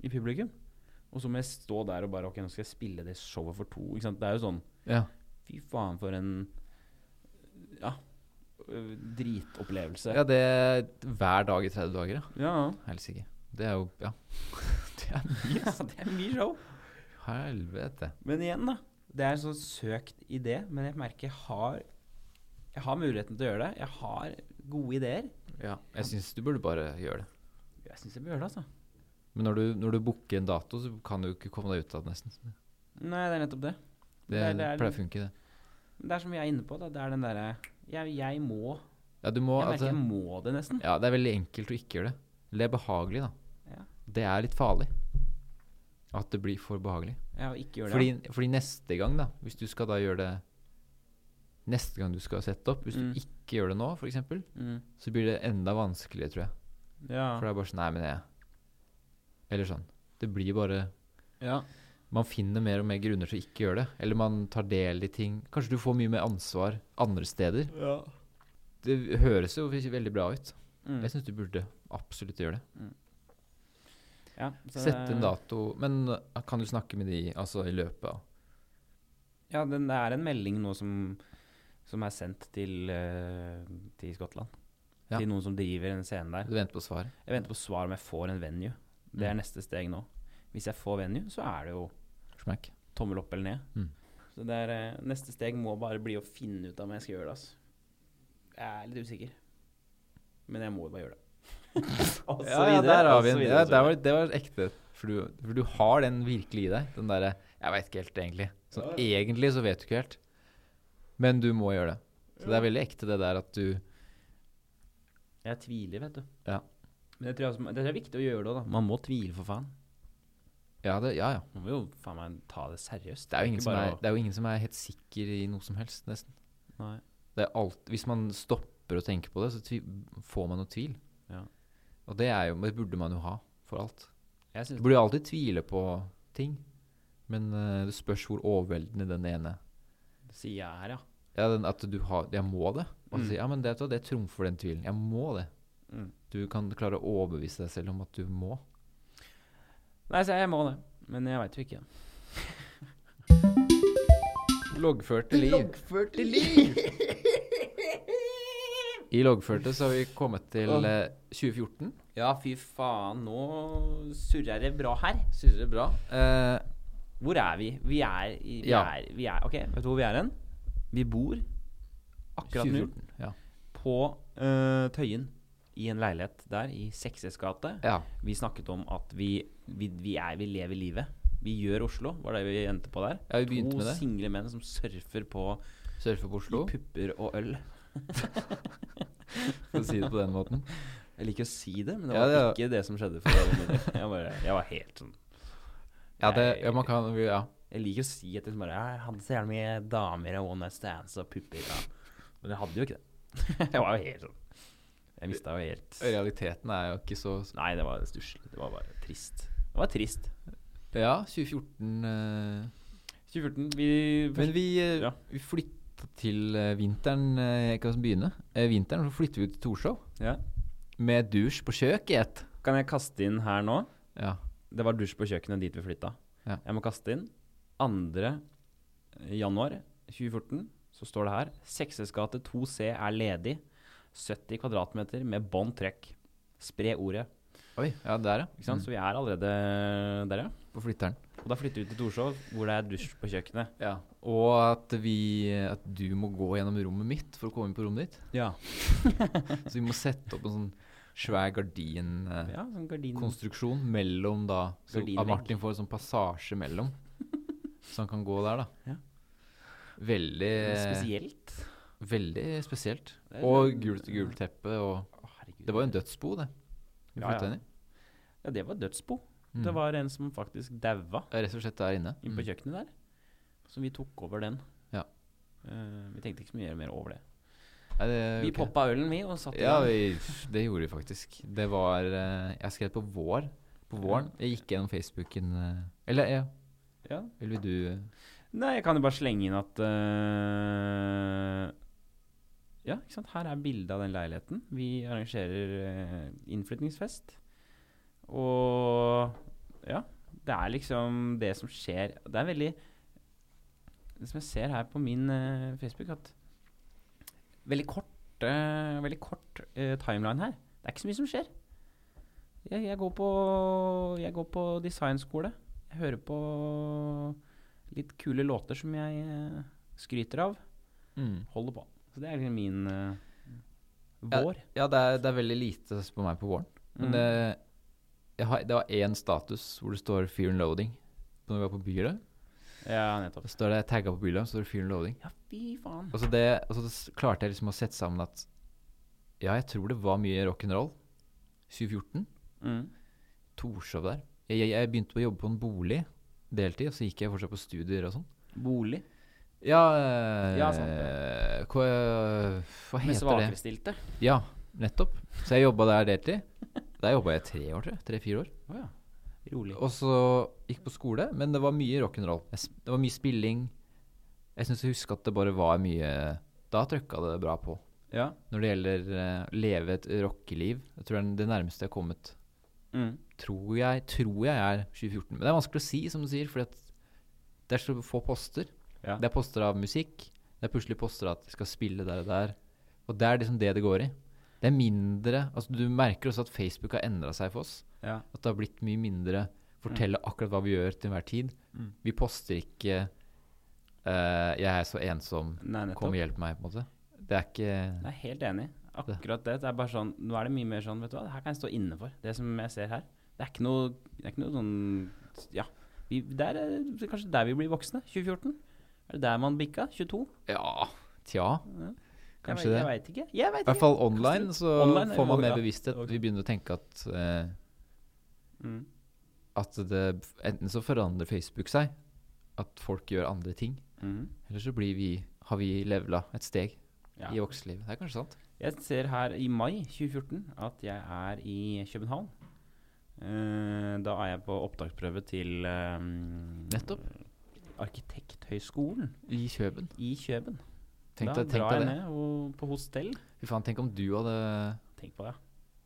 i publikum. Og så må jeg stå der og bare Ok, nå skal jeg spille det showet for to. Ikke sant? Det er jo sånn
Ja.
Fy faen, for en Ja. øh, Dritopplevelse.
ja, det er hver dag i 30 dager, ja.
ja.
Helsike. Det er jo Ja. Det er
ja det er mye show.
helvete.
Men igjen, da. Det er en sånn søkt idé, men jeg merker jeg har Jeg har muligheten til å gjøre det. Jeg har gode ideer.
Ja. Jeg syns du burde bare gjøre det.
Jeg syns jeg bør gjøre det, altså.
Men når du, når du booker en dato, så kan du ikke komme deg ut av det, nesten.
Nei, det er nettopp det.
Det,
Det er- det er-
pleier å funke, det.
Men det er som vi er inne på, da. Det er den derre jeg, jeg må
Ja, du må,
Jeg merker
altså,
jeg må det, nesten.
ja, det er veldig enkelt å ikke gjøre det. Eller det er behagelig, da.
Ja.
Det er litt farlig. At det blir for behagelig.
Ja, og ikke gjøre det.
Fordi, fordi neste gang, da, hvis du skal da gjøre det Neste gang du skal sette opp, hvis
Mm.
du ikke gjør det nå, f.eks.,
mm.
så blir det enda vanskeligere, tror jeg. For
ja.
det er bare sånn Nei, men jeg Eller sånn. Det blir bare
ja.
man finner mer og mer grunner til å ikke gjøre det. Eller man tar del i ting. Kanskje du får mye mer ansvar andre steder. Det høres jo veldig bra ut.
Mm.
Jeg syns du burde absolutt gjøre det.
ja så
Sette
det-
en dato. Men uh, kan du snakke med de altså, i løpet av
Ja, den, det er en melding nå som, som er sendt til, eh, til Skottland.
Ja.
Til noen som driver en scene der.
Du venter på svar.
Jeg venter på svar om jeg får en venue. Det er
Mm.
neste steg nå. Hvis jeg får venue, så er det jo
Smack.
tommel opp eller ned.
Mm.
Så det er, eh, neste steg må bare bli å finne ut av om jeg skal gjøre det. Altså. Jeg er litt usikker. Men jeg må jo bare gjøre det. Og så
Ja, ja,
videre,
der har
og
vi
så
en.
videre,
Ja,
og så
der var,
videre.
det var ekte. For du, for du har den virkelig i deg. Den derre Jeg veit ikke helt, egentlig. Så egentlig så vet du ikke helt. Men du må gjøre det. Så det er veldig ekte, det der at du
Jeg tviler, vet du.
Ja.
Men jeg tror altså, det er viktig å gjøre det òg, da. Man må tvile, for faen.
Ja, det, ja. ja.
Man må jo faen meg ta det seriøst.
Det er, jo ingen
ikke
som
bare
er, det er jo ingen som er helt sikker i noe som helst, nesten.
å- Nei.
Det er alt, hvis man stopper å tenke på det, så tvi, får man noe tvil.
Ja.
Og det, er jo, det burde man jo ha for alt.
Jeg
Du
synes,
burde jo alltid tvile på ting, men eh, det spørs hvor overveldende den ene
sier jeg her, ja.
Ja, den, at du har Jeg må det. Og så
Mm.
sier ja, men det, vet du hva, det trumfer den tvilen. Jeg må det.
Mm.
Du kan klare å overbevise deg selv om at du må.
Nei, så jeg må det. Men jeg veit jo ikke.
Loggførte liv. I loggførte så har vi kommet til eh, 2014.
Ja, fy faen, nå surrer det bra her.
Synes det er bra. Eh,
Hvor er vi? Vi er i vi
Ja.
er, vi er, Ok, vet du hvor vi er hen? Vi bor akkurat nå
2014. Ja.
på eh, Tøyen. I en leilighet der, i 6S gate.
ja.
Vi snakket om at vi, vi, vi, er, vi lever livet. Vi gjør Oslo, var det vi endte på der.
Ja, vi begynte
to
med det.
single menn som surfer på
Surfe på Oslo,
pupper og øl.
for å si det på den måten.
Jeg liker å si det, men det
Ja,
var
det er-
ikke det som skjedde. For å være med dere. jeg, bare, jeg var helt sånn
Ja, det, ja, man kan, vi- ja.
Jeg liker å si at liksom bare, jeg hadde så jævlig mye damer og one night stands og pupper. Da. Men jeg hadde jo ikke det. jeg var jo helt sånn Jeg mista jo helt
Realiteten er jo ikke så
Nei, det var stusslig. Det var bare trist. Det var trist.
Ja, 2014 eh,
2014, vi
Men vi, eh,
Ja.
vi flytta til eh, vinteren eh, Jeg kan begynne. Eh, Vinteren så flytter vi til Torshov.
ja.
Med dusj på kjøkkenet.
Kan jeg kaste inn her nå?
Ja.
Det var dusj på kjøkkenet dit vi flytta.
Ja.
Jeg må kaste inn. 2. januar 2014 så står det her 6S gate 2C er ledig. 70 kvadratmeter med bånd trøkk. Spre ordet.
Oi, ja, der, ja. Mm.
Ikke sant? Så vi er allerede der, ja.
På flytteren.
Og da flytter vi til Torshov, hvor det er dusj på kjøkkenet.
Ja. Og at, vi, at du må gå gjennom rommet mitt for å komme inn på rommet ditt.
Ja.
Så vi må sette opp en sånn svær gardinkonstruksjon
ja sånn gardin.
mellom da Så
Gardinvegg.
at Martin får en sånn passasje mellom, så han kan gå der, da.
Ja.
Veldig
Spesielt.
Veldig spesielt.
Det er
Og
sånn-
gult gult teppe og
Å, herregud.
Det var jo en dødsbo, det. Vi
Ja, ja.
flytta inn i.
Ja, det var dødsbo.
Mm.
Det var en som faktisk daua
Ja, Rett og slett der inne.
inne på
Mm.
kjøkkenet der. Så vi tok over den.
Ja.
Eh, vi tenkte ikke så mye mer over det.
Nei, det er jo
Vi
ikke-
poppa ølen, vi, og satt i
Eh, Ja,
den.
vi, det gjorde vi faktisk. Det var eh, Jeg skrev på vår. På våren. Jeg gikk gjennom Facebooken eh, Eller ja,
Ja.
eller vil du eh,
Nei, jeg kan jo bare slenge inn at eh, Ja, ikke sant. Her er bildet av den leiligheten. Vi arrangerer eh, innflytningsfest. Og ja. Det er liksom det som skjer Det er veldig Det som jeg ser her på min eh, Facebook, at Veldig kort, eh, veldig kort eh, timeline her. Det er ikke så mye som skjer. Jeg, jeg, går, på, jeg går på designskole. Jeg hører på litt kule låter som jeg eh, skryter av.
mm.
Holder på. Så det er liksom min eh,
Ja,
vår.
Ja, det er, det er veldig lite på meg på våren. Men
Mm.
det, jeg har, det var én status hvor det står 'Fear and Loading'. På Når vi var på Bylet,
Ja, nettopp.
så står det tagga på Bylet, så står det 'Fear and Loading'.
Ja, fy faen.
Og så, det, og så s- klarte jeg liksom å sette sammen at Ja, jeg tror det var mye rock'n'roll. 2014.
Mm.
Torshov der. Jeg, jeg, jeg begynte å jobbe på en bolig deltid, og så gikk jeg fortsatt på studier og sånn.
Bolig.
Ja, eh,
Ja, sant,
Hva, hva
Med
heter det?
svakerestilte.
Ja, nettopp. Så jeg jobba der deltid. Der jobba jeg tre år, tror jeg. Tre-fire år.
Å ja. Rolig.
Og så gikk på skole, men det var mye rock'n'roll. Jeg s- Det var mye spilling. Jeg syns jeg husker at det bare var mye Da trøkka det bra på.
Ja.
Når det gjelder eh, leve et rockeliv. Jeg tror det er det nærmeste jeg har kommet
Mm.
tror jeg, tror jeg er 2014. Men det er vanskelig å si, som du sier, for det er så få poster.
Ja.
Det er poster av musikk. Det er plutselig poster at de skal spille der og der. Og det er liksom det det går i. Det er mindre altså Du merker også at Facebook har endra seg for oss.
ja.
At det har blitt mye mindre fortelle akkurat hva vi gjør til enhver tid.
Mm.
Vi poster ikke eh, 'Jeg er så ensom,
Nei,
kom
nettopp.
og hjelp meg', på en måte. Det er ikke
Jeg er helt enig. Akkurat det. det er bare sånn, nå er det mye mer sånn, vet du hva, det her kan jeg stå inne for. Det som jeg ser her. Det er ikke noe, det er ikke noe sånn Ja. Vi, der er, det er kanskje der vi blir voksne. 2014. Er det der man bikka? 22?
Ja, tja.
Ja.
Kanskje
jeg,
det.
jeg veit ikke. Jeg
I
vet
hvert
ikke.
fall online så
Online,
får man
ja,
mer
ja.
bevissthet.
Ok.
Vi begynner å tenke at, eh,
Mm.
at det, enten så forandrer Facebook seg, at folk gjør andre ting,
Mhm.
eller så blir vi, har vi levela et steg
Ja.
i voksenlivet. Det er kanskje sant?
Jeg ser her i mai 2014 at jeg er i København. Eh, Da er jeg på opptaksprøve til eh,
Nettopp.
Arkitekthøgskolen
I Kjøben.
i Kjøben.
Tenk
da
deg, tenk
drar
deg
jeg
det.
ned og på hostell.
Fy faen, tenk om du hadde
Tenk på det.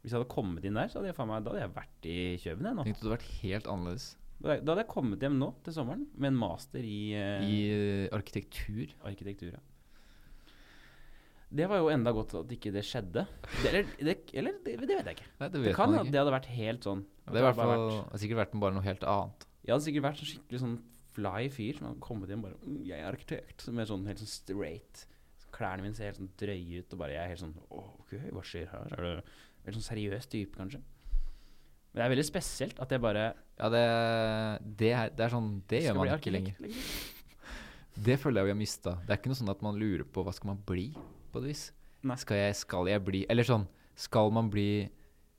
Hvis jeg hadde kommet inn der, så hadde jeg, faen meg, da hadde jeg vært i Kjøben. Jeg, nå.
Tenk at du hadde vært helt annerledes
Da da hadde jeg kommet hjem nå til sommeren med en master i, eh,
i eh, arkitektur.
arkitektur. Ja. Det var jo enda godt at ikke det skjedde. Det, eller det, eller det, det vet jeg ikke.
Nei, det
Det
vet
kan
man
at
ikke.
det hadde vært helt sånn.
Det har i hvert fall det har sikkert vært bare noe helt annet.
Jeg hadde sikkert vært en skikkelig sånn fly fyr som hadde kommet hjem bare «Mm, 'Jeg er arkitekt.' Med sånn helt sånn straight. Klærne mine ser helt sånn drøye ut, og bare jeg er helt sånn «Å, 'OK, hva skjer her?' Er det Veldig sånn seriøs type, kanskje. Men det er veldig spesielt at jeg bare
Ja, det, det, er, det er sånn Det
skal
gjør man
bli
ikke lenger.
arkitekt liksom.» lenger.
Det føler jeg vi har mista. Det er ikke noe sånn at man lurer på hva skal man bli, på et vis.
Nei.
Skal jeg, skal jeg bli Eller sånn Skal man bli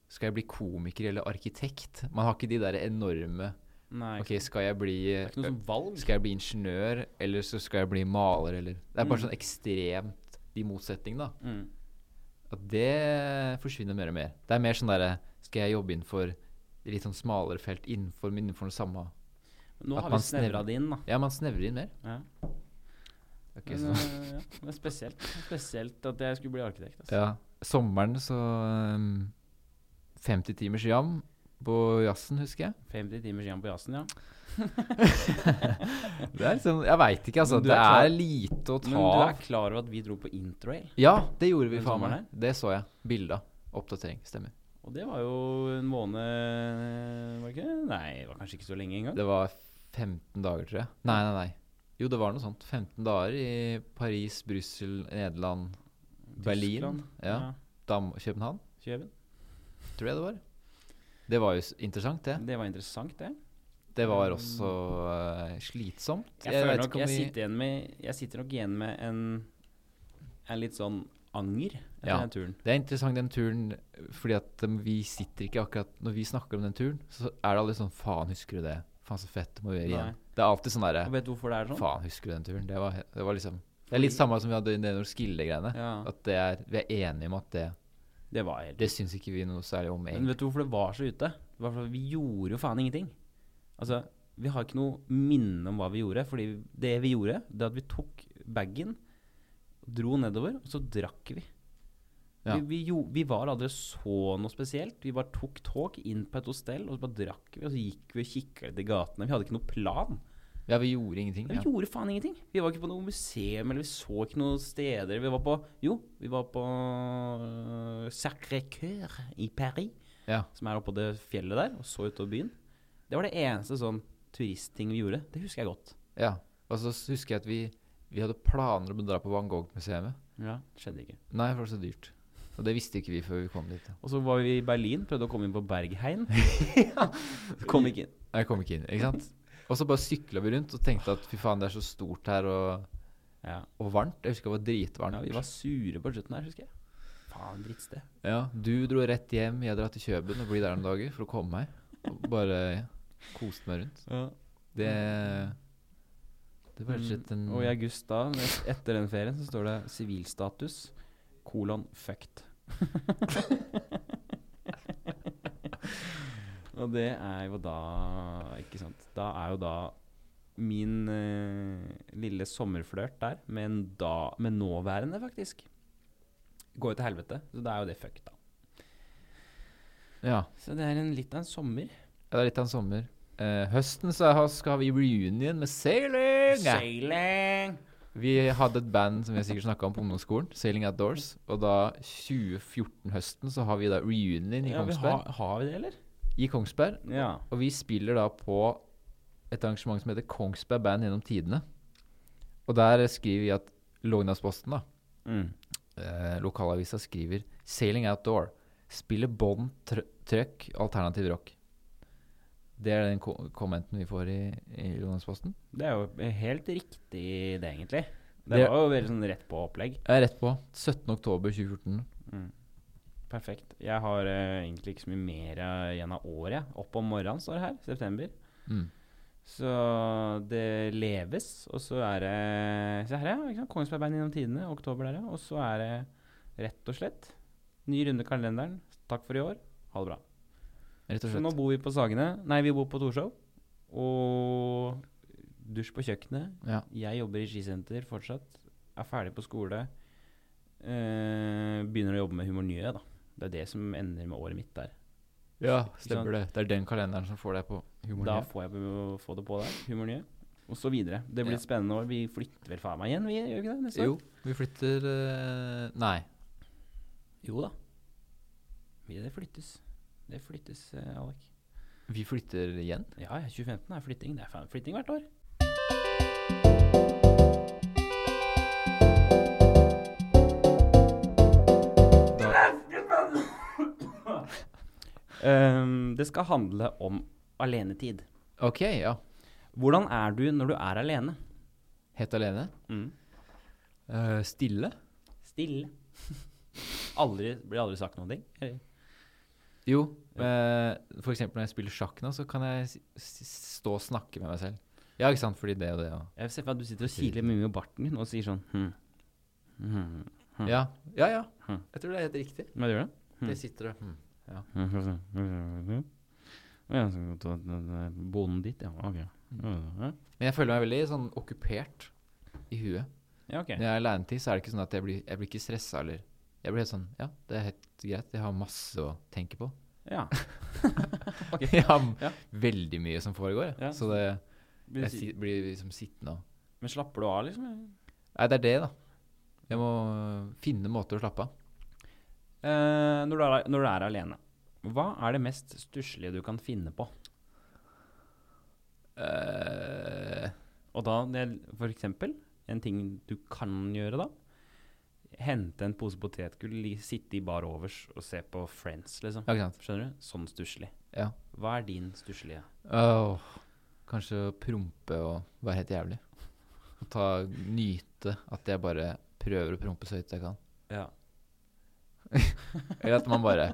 Skal jeg bli komiker eller arkitekt? Man har ikke de der enorme
Nei,
Ok, skal jeg bli
det er ikke noe sånn valg.
Skal jeg bli ingeniør, eller så skal jeg bli maler, eller Det er bare
Mm.
sånn ekstremt de motsetningene, da.
Mm.
At det forsvinner mer og mer. Det er mer sånn derre Skal jeg jobbe innenfor litt sånn smalere felt innenfor, men innenfor det samme
Nå
At
har
man
vi snevra
snevrer-
det inn, da.
Ja, man snevrer inn mer.
Ja.
Ok,
Men,
så.
øh, ja, det er spesielt. Spesielt at jeg skulle bli arkitekt. Altså.
Ja. Sommeren så um, 50 timers jam på jazzen, husker jeg.
50 timers jam på jazzen, ja.
Det er liksom, jeg veit ikke, altså.
Men du
Det
er klar-
er lite å
Men
ta
du er
av.
klar over at vi dro på interrail?
Ja, det gjorde vi,
Den
faen
sommeren
meg. Det så jeg. Bilda. Oppdatering. Stemmer.
Og det var jo en måned Var det ikke? det? Nei, det var kanskje ikke så lenge engang.
Det var 15 dager, tror jeg. Nei, nei, nei. Jo, det var noe sånt. 15 dager i Paris, Brussel, Nederland, Berlin,
Tyskland,
ja. Dam København.
Kjøben.
Tror jeg det var. Det var jo s- interessant, det.
Det var interessant, det.
Det var også eh, slitsomt.
Mm. Jeg,
vet
føler
ikke
nok,
om
jeg,
vi-
sitter igjen med, jeg sitter nok igjen med en, en litt sånn anger etter
Ja.
den turen.
Det er interessant den turen, fordi at um, vi sitter ikke akkurat Når vi snakker om den turen, så er det aldri sånn Faen, husker du det? Faen, så fett det må vi gjøre
Nei.
igjen. Det er alltid sånn derre
Og vet du hvorfor det er sånn?
Faen, husker du den turen? Det var, he- det var liksom Det er litt samme som vi hadde i det Norskilde-greiene.
Ja,
At det er Vi er enige om at det
det var helt
Det syns ikke vi noe særlig om,
Men
egentlig.
vet du hvorfor det var så ute? Det var fordi vi gjorde jo faen ingenting. Altså, vi har ikke noe minne om hva vi gjorde, fordi det vi gjorde, det at vi tok bagen, dro nedover, og så drakk vi.
Ja.
Vi, vi, jo, vi var aldri så noe spesielt. Vi bare tok tog inn på et hostell, og så bare drakk vi, og så gikk vi og kikka litt i gatene. Vi hadde ikke noe plan.
Ja, vi gjorde ingenting.
Vi
Ja.
gjorde faen ingenting. Vi var ikke på noe museum, eller vi så ikke noen steder. Vi var på Jo, vi var på øh, Sacré-Cœur i Paris,
Ja.
som er oppå det fjellet der, og så utover byen. Det var det eneste sånn turistting vi gjorde. Det husker jeg godt.
ja. Og så s- husker jeg at vi Vi hadde planer om å dra på Van Gogh-museet.
Ja, Skjedde ikke.
Nei, for det var så dyrt. Og det visste ikke vi før vi kom dit. da.
Og så var vi i Berlin, prøvde å komme inn på Bergheim. Kom ikke inn.
Nei, Jeg kom ikke inn, ikke sant? Og så bare sykla vi rundt og tenkte at fy faen, det er så stort her og,
Ja.
og varmt. Jeg husker det var
ja,
dritvarmt.
Vi var sure på slutten her, husker jeg. Faen, drittsted.
Ja, du dro rett hjem, jeg drar til Kjøben og blir der noen dager for å komme meg. Og bare ja, koste meg rundt.
Ja.
Det Det var rett og slett en
Mm. Og i august da, et- etter den ferien, så står det sivilstatus, kolon fucked. og det er jo da Ikke sant. Da er jo da min eh, lille sommerflørt der, med, en da, med nåværende, faktisk, går jo til helvete. Så da er jo det fucked, da.
Ja.
Så det er en, litt av en sommer.
Det er litt av en sommer. Eh, høsten så har- skal vi reunion med sailing!
Sailing!
Vi hadde et band som vi sikkert snakka om på ungdomsskolen, Sailing Outdoors. Og da 2014-høsten så har vi da reunion i
Ja, vi
Kongsberg.
har, har vi det, eller?
I Kongsberg.
Ja.
Og vi spiller da på et arrangement som heter Kongsberg Band gjennom tidene. Og der skriver vi at Lognadsposten, da,
Mm.
eh, lokalavisa, skriver 'Sailing Outdoor'. Spiller bånd, tr trøkk, alternativ rock. Det er den ko kommenten vi får i, i Lognadsposten.
Det er jo helt riktig det, egentlig. Det,
Det-
var jo veldig sånn rett på opplegg.
Jeg er rett på. 17.10.2014.
Perfekt. Jeg har eh, egentlig ikke så mye mer eh, igjen av året. jeg. Opp om morgenen står det her, september.
Mm.
Så det leves, og så er det Se her, ja. ikke sant? Kongsbergbein gjennom tidene, oktober der, ja. Og så er det rett og slett ny runde i kalenderen. Takk for i år. Ha det bra.
Rett og
Så nå
slett.
bor vi på Sagene. Nei, vi bor på Torshov. Og dusj på kjøkkenet.
Ja.
Jeg jobber i skisenter fortsatt. Er ferdig på skole. Eh, begynner å jobbe med humornyhet, da. Det er det som ender med året mitt der.
ja, stemmer det. Det er den kalenderen som får deg på humoren.
Da
igjen.
får jeg be- få det på der. Humornyhet. Og så videre. Det blir
Ja.
et spennende år. Vi flytter vel faen meg igjen, vi gjør vi ikke det? Neste
Jo, vi flytter eh, Nei.
År? Jo da. Vi- Det flyttes. Det flyttes, eh, Alek.
Vi flytter igjen.
Ja, ja, 2015 er flytting. Det er faen flytting hvert år. Ehm, det skal handle om alenetid.
OK, ja.
Hvordan er du når du er alene?
Helt alene. Eh, stille.
Stille. Aldri, blir aldri sagt noen ting? eller?
Jo, eh, for eksempel når jeg spiller sjakk nå, så kan jeg s s stå og snakke med meg selv. Ja, ikke sant, fordi det og det og
Jeg ser for meg at du sitter og kiler mye med barten din og sier sånn hm. Hm.
Ja, ja. ja.
Hm.
Jeg tror det er helt riktig.
Hva gjør du?
Det sitter og hm.
Bonden ditt, ja. Ok.
Men jeg føler meg veldig sånn okkupert i huet.
Ja, ok.
Når jeg er aleinetid, så er det ikke sånn at jeg blir, jeg blir ikke stressa eller Jeg blir helt sånn Ja, det er helt greit. Jeg har masse å tenke på.
Ja. Ok.
Jeg har m-
Ja.
veldig mye som foregår, jeg.
Ja.
så det,
Men,
jeg si, blir liksom sittende og
men slapper du av, liksom?
Nei, det er det, da. Jeg må øh, finne måter å slappe av.
Eh, når, du er, når du er alene, hva er det mest stusslige du kan finne på?
Eh,
Og da, det- for eksempel, en ting du kan gjøre da, hente en pose potetgull, li- sitte i bar overs og se på Friends, liksom.
ja, ikke sant.
Skjønner du? Sånn stusslig.
Ja.
Hva er din stusslige?
Åh, kanskje å prompe og være helt jævlig. Og ta, nyte at jeg bare prøver å prompe så høyt jeg kan.
Ja.
Eller at man bare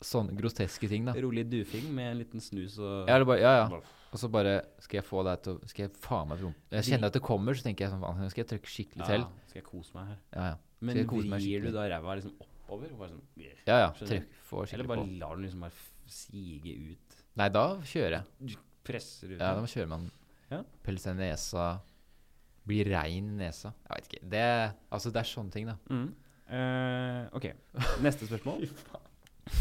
Sånne groteske ting, da.
Rolig dufing med en liten snus og...
Ja, eller bare, ja, ja. Og så bare Skal jeg få deg til å Skal jeg faen meg prompe? Jeg kjenner at det kommer, så tenker jeg sånn faen, nå skal jeg trykke skikkelig til.
Ja, skal jeg kose meg her?
Ja, ja.
Men
jeg kose meg
vrir du
skikkelig?
da ræva liksom oppover? Bare sånn,
Ja, ja.
Skjønner.
Trykk, få
eller
skikkelig
bare
på.
lar den liksom bare f- sige ut?
Nei, da kjører jeg.
Presser ut?
Ja, da
den?
kjører man.
Ja.
Pelle seg i nesa. Bli rein i nesa. Jeg vet ikke. Det, altså, det er sånne ting, da.
Mm. Eh, ok, neste spørsmål.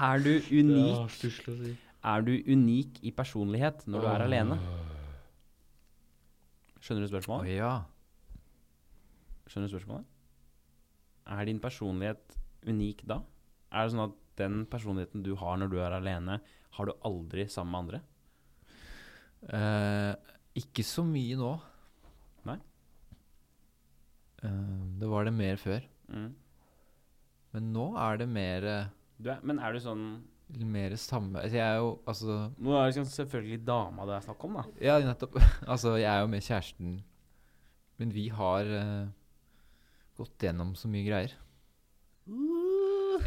er du unik Er du unik i personlighet når du er alene? Skjønner du
Å
spørsmålet?
ja.
Skjønner du spørsmålet? Er din personlighet unik da? Er det sånn at den personligheten du har når du er alene, har du aldri sammen med andre?
Eh, ikke så mye nå.
Nei?
Eh, det var det mer før. Men nå er det mer, eh,
Mm. Du er, men er du sånn
mer samme altså, Jeg er jo altså
Nå er det liksom selvfølgelig dama det er snakk om, da.
Ja, nettopp. altså, jeg er jo med kjæresten, men vi har eh, gått gjennom så mye greier.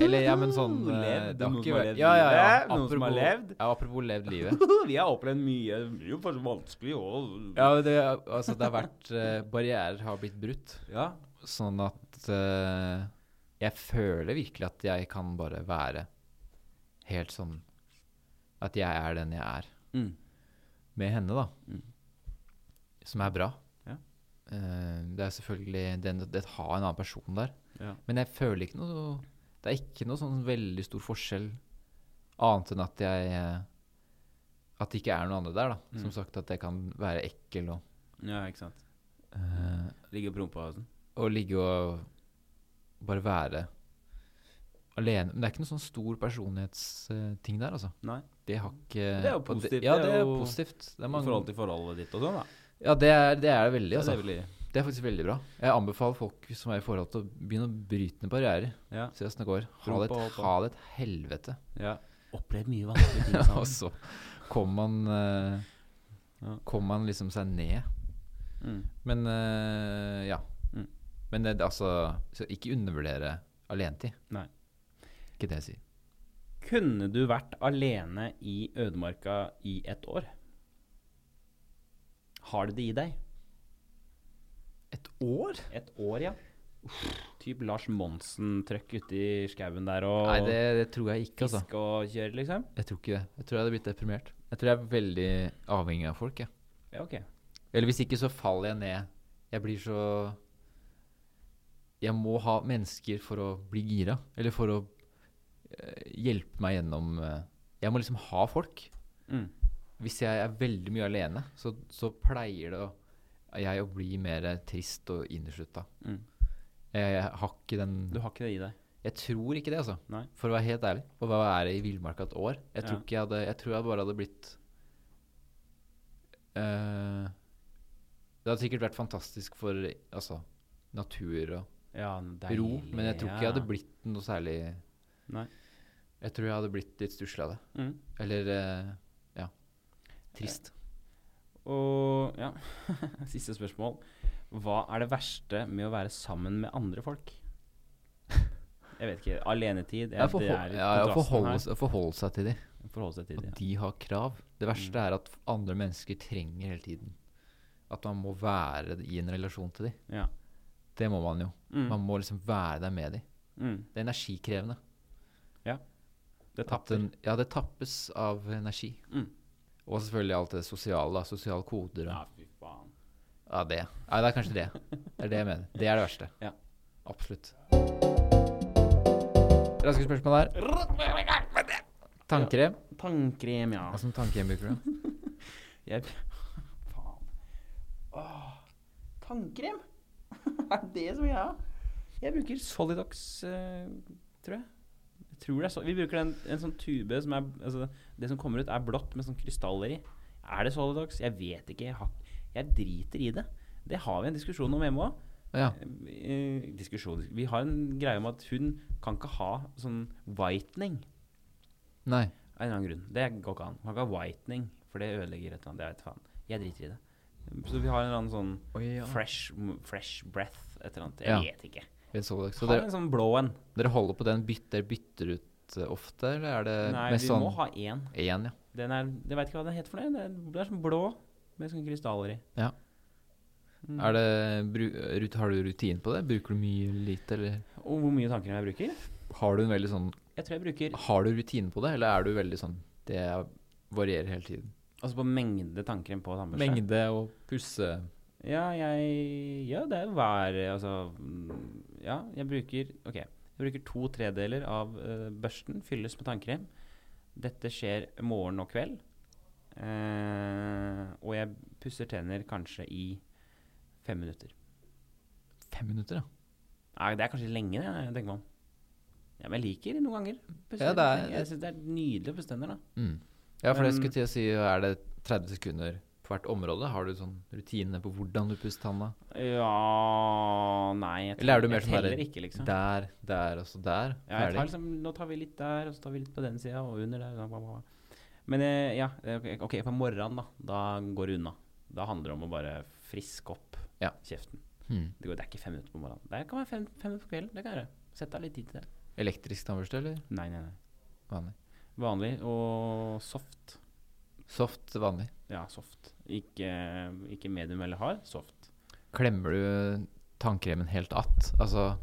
Eller, ja, men sånn
Uhuhu,
eh,
levd,
det har
noen
ikke
som har
vært-
levd
ja, ja, ja,
livet, noen som har
apropos-
levd.
Ja, apropos levd livet.
Vi har opplevd mye. Det blir jo faktisk vanskelig å
Ja, det, altså, det har vært eh, Barrierer har blitt brutt.
ja.
Sånn at eh, jeg føler virkelig at jeg kan bare være helt sånn At jeg er den jeg er.
Mm.
Med henne, da.
Mm.
Som er bra.
Ja.
Eh, det er selvfølgelig den, det å ha en annen person der.
Ja.
Men jeg føler ikke noe Det er ikke noe sånn veldig stor forskjell annet enn at jeg eh, At det ikke er noen andre der, da.
Mm.
Som sagt, at jeg kan være ekkel og
ja, ikke sant.
eh,
Ligge og prompe og sånn.
å ligge og bare være alene. Men det er ikke noen sånn stor personlighetsting der, altså.
Nei.
Det har ikke
Det er jo
og det-
positivt,
Ja,
det er
det er
jo-
positivt. Det er
I forhold
mange,
til forholdet ditt og sånn, da.
ja, det er det er det veldig,
Ja, det
altså.
er vel i-
Det er faktisk veldig bra. Jeg anbefaler folk som er i forhold til å begynne å bryte ned barrierer.
ja.
Se åssen det går. Ha
Rumpa
det, et,
opp og-
ha det et helvete.
ja. altså. Opplevd mye vanskelige ting
og så kommer man eh,
Ja.
Kommer man liksom seg ned.
Mm.
Men eh, ja.
Mm.
Men det, det, altså så Ikke undervurdere alenetid.
Nei.
Ikke det jeg sier.
Kunne du vært alene i ødemarka i et år? Har du det i deg?
Et år?
Et år, ja. Typ Lars Monsen-trøkk ute i skauen der og
Nei, det, det tror jeg ikke, altså.
fiske og kjøre, liksom?
Jeg tror ikke det. Jeg tror jeg hadde blitt deprimert. Jeg tror jeg er veldig avhengig av folk, jeg.
Ja, ok.
Eller hvis ikke, så faller jeg ned. Jeg blir så Jeg må ha mennesker for å bli gira, eller for å eh, hjelpe meg gjennom eh, Jeg må liksom ha folk.
Mm.
Hvis jeg er veldig mye alene, så, så pleier det å, jeg å bli mer trist og inneslutta.
Mm.
Jeg, jeg har ikke den
Du har ikke det i deg?
Jeg tror ikke det, altså.
Nei.
For å være helt ærlig. Å være i villmarka et år Jeg tror
Ja.
ikke jeg hadde Jeg tror jeg bare hadde blitt eh, Det hadde sikkert vært fantastisk for altså, natur og
Ja,
ro, men jeg tror ikke jeg hadde blitt noe særlig
Nei.
Jeg tror jeg hadde blitt litt stusslig av det.
mm.
Eller eh, ja. Trist.
Og ja, siste spørsmål. Hva er det verste med å være sammen med andre folk? Jeg vet ikke. Alenetid?
Ja,
det
forhol-
er
ja, ja,
kontrasten
forholde,
her.
seg- forholde seg til dem.
Forholde seg til
At
det.
de har krav. Det verste
Mm.
er at andre mennesker trenger hele tiden. At man må være i en relasjon til dem.
Ja.
Det må man jo.
Mm.
Man må liksom være der med dem.
Mm.
Det er energikrevende.
Det
At
tapper.
den- ja, det tappes av energi.
Mm.
Og selvfølgelig alt det sosiale. da, Sosiale koder og
Ja, fy faen.
ja, det. Nei, det er kanskje det. Det er det jeg mener. Det er det verste.
Ja.
Absolutt. Raske spørsmål der. Tannkrem.
Tannkrem, ja.
Hva som tannkrem bruker du?
Jeg Faen. Åh, tannkrem? er det som jeg har? Jeg bruker Solidox, eh, tror jeg. jeg tror det er så, vi bruker en, en sånn tube som er altså, Det som kommer ut, er blått med sånn krystaller i. Er det Solidox? Jeg vet ikke. Jeg, har, jeg driter i det. Det har vi en diskusjon om hjemme òg.
Ja.
Eh, diskusjon Vi har en greie om at hun kan ikke ha sånn whitening
Nei.
av en eller annen grunn. Det går ikke an. Man kan ikke ha whitening, for det ødelegger et eller annet. Jeg vet faen. Jeg driter i det. Så vi har en eller annen sånn
Oi, ja.
fresh, fresh breath, et eller annet. Jeg
Ja.
vet ikke.
Ved Solveig. Så
Ha
dere,
en sånn blå en.
dere holder på den? Bytter, bytter ut eh, ofte, eller er det
Nei,
mest
vi
sånn
må ha én.
Én, ja.
Den er Jeg veit ikke hva den heter for noe. Det er, det er sånn blå med sånn sånne krystaller i.
ja.
Mm.
Er det, bru, rut- har du rutin på det? Bruker du mye eller lite, eller
Og hvor mye tanker jeg bruker?
har du en veldig sånn
Jeg tror jeg bruker
Har du rutine på det, eller er du veldig sånn Det varierer hele tiden.
Altså på mengde tannkrem på tannbørste.
Ah. Mengde og pusse
Ja, jeg Ja, det er hver Altså mm, Ja, jeg bruker Ok. Jeg bruker to tredeler av eh, børsten fylles med tannkrem. Dette skjer morgen og kveld. Eh, og jeg pusser tenner kanskje i fem minutter.
fem minutter, ja.
Nei, det er kanskje lenge, det, tenker man. Ja, men jeg liker noen ganger. pusse
Ja, det
tenner.
er-
jeg syns det er nydelig å pusse tenner, da.
Mm. Ja, for det jeg
Men-
skulle til å si, er det 30 sekunder på hvert område? Har du sånn rutine på hvordan du pusser tanna?
Ja Nei, jeg,
Eller er du
teller-
mer
jeg
sånn der-
teller ikke, liksom.
Der, der og så der?
Ja, jeg tar
Ferdig?
liksom, nå tar vi litt der, og så tar vi litt på den sida, og under der. bla, bla, bla. Men eh, ja, eh, ok, ok, på morgenen, da. Da går det unna. Da handler det om å bare friske opp
Ja.
kjeften.
Hmm.
Det, går, det er ikke fem minutter på morgenen. Det kan være fem, fem minutter på kvelden. Det kan jeg gjøre. Sett av litt tid til det.
Elektrisk tannbørste, eller
Nei, nei, nei.
vanlig?
Vanlig og soft.
Soft, vanlig.
Ja, soft. Ikke, ikke medium eller hard. Soft.
Klemmer du tannkremen helt att? Altså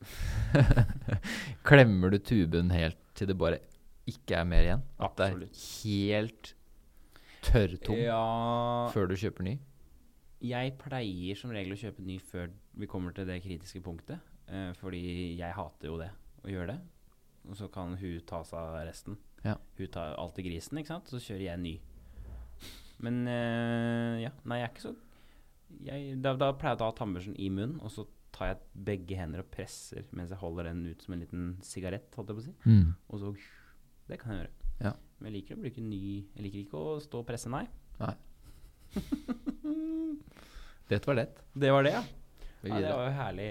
Klemmer du tuben helt til det bare ikke er mer igjen? At det er
Absolutt.
helt tørrtom
Ja
før du kjøper ny?
Jeg pleier som regel å kjøpe ny før vi kommer til det kritiske punktet. Eh, fordi jeg hater jo det, å gjøre det. Og så kan hun ta seg av resten.
Ja.
Hun tar alltid grisen, ikke sant. Så kjører jeg ny. Men eh, ja, nei, jeg er ikke så jeg, da, da pleier jeg å ta tannbørsten i munnen, og så tar jeg begge hender og presser mens jeg holder den ut som en liten sigarett, holdt jeg på å si.
Mm.
Og så Det kan jeg gjøre.
Ja.
Men jeg liker å bruke ny Jeg liker ikke å stå og presse, nei.
Nei. Dette var lett.
Det var det, ja.
Vi
Ja, det
videre.
var jo herlig.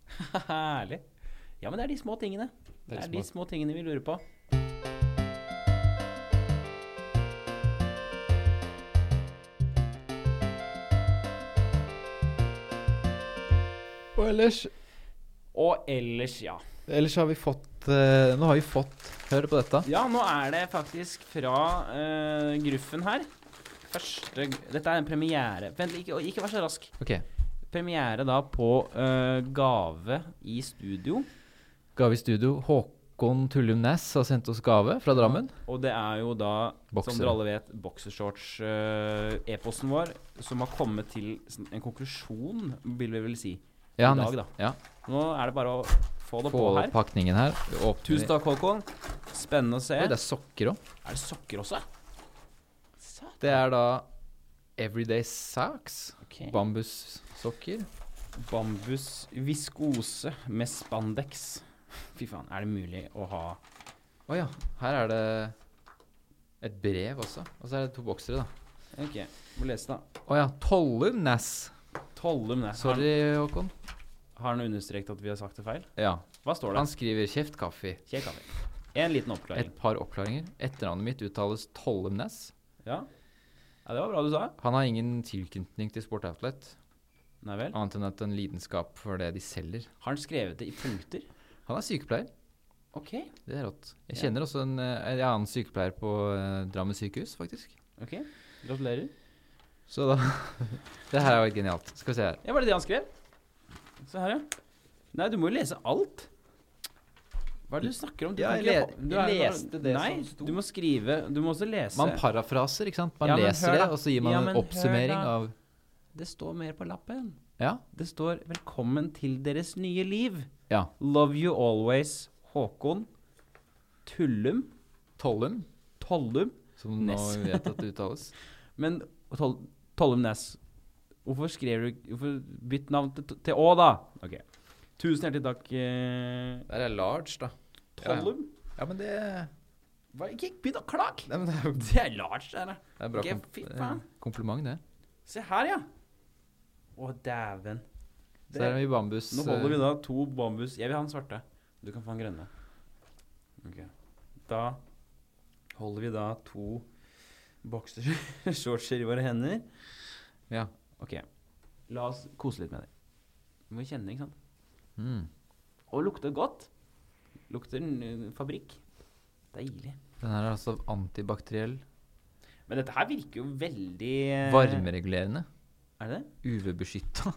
herlig. Ja, men det er de små tingene. Det er de små tingene vi lurer på.
Og ellers,
Og ellers, ja.
ellers har vi fått eh, Nå har vi fått Hør på dette.
Ja, nå er det faktisk fra eh, Gruffen her. Første Dette er en premiere. Vent, ikke, ikke vær så rask.
Ok.
Premiere da på eh, Gave i studio.
Gave i studio. Håkon Tullum Næss har sendt oss gave fra Drammen.
Og det er jo da,
Bokser.
som dere alle vet, boksershorts-e-posten vår, som har kommet til s- en konklusjon, vil vi vel si. I dag,
nest-
da.
Ja,
Nå er det bare å få det
Få
på
opp
her.
pakningen her. Åpner vi-
Tusen takk, Håkon. Spennende å se.
Oi, det er sokker òg.
Er det sokker også?
Det er da Everyday Socks.
Ok.
Bambussokker.
Bambus viskose med spandex. Fy faen, er det mulig å ha
Å ja. Her er det et brev også. Og så er det to boksere, da.
Ok, må lese, da.
Å ja. Tollum Næss.
Tollum, det. Har,
Sorry, Håkon.
har han understreket at vi har sagt det feil?
Ja.
Hva står det?
Han skriver 'Kjeft kaffe'.
Kjekk av deg. En liten oppklaring.
Et par oppklaringer. Etternavnet mitt uttales Tollum Næss.
Ja. ja, det var bra du sa.
Han har ingen tilknytning til Sport Outlet,
Nei vel.
annet enn at en lidenskap for det de selger.
Har han skrevet det i punkter?
Han er sykepleier.
Ok.
Det er rått. Jeg
Ja.
kjenner også en, eh, en annen sykepleier på eh, Drammen sykehus, faktisk.
ok. Gratulerer.
Så da Det her er jo helt genialt. Skal vi se her.
Ja, var det det han skrev? Se her, ja. Nei, du må jo lese alt. Hva er det du snakker om? Du
Ja,
kan
jeg
ikke
le-
du er
jeg
bare-
leste det
Nei,
som sto.
du må skrive Du må også lese
Man parafraser, ikke sant? Man
Ja, men hør
leser det,
da.
og så gir man
Ja, men
en
hør
oppsummering
da.
av
Det står mer på lappen.
Ja.
Det står 'Velkommen til deres nye liv'.
ja.
Love you always, Håkon. Tullum.
Tollum,
Tollum.
som
Ness.
nå vet at det uttales.
Men tol Tollum Næss, hvorfor skrev du Hvorfor bytt navn til, til Å, da? Ok. Tusen hjertelig takk, eh,
Der er large, da. Ja, ja.
Tollum.
Ja, men det
Hva- Ikke begynn å klage!
Nei, men det er jo
Det er Lars der, da.
det er bra
Ok,
kom
fy
eh,
faen.
kompliment, det.
Se her, ja. Å, dæven.
Så der har vi bambus.
Nå holder vi da to bambus Jeg vil ha den svarte. Du kan få den grønne. Ok. Da holder vi da to boksershortser i våre hender.
Ja.
Ok. La oss kose litt med det. Vi må kjenne, ikke sant?
Mm.
Og lukter godt. Lukter n- fabrikk. Deilig.
Den her er altså antibakteriell.
Men dette her virker jo veldig eh,
Varmeregulerende.
Er det det?
UV-beskytta.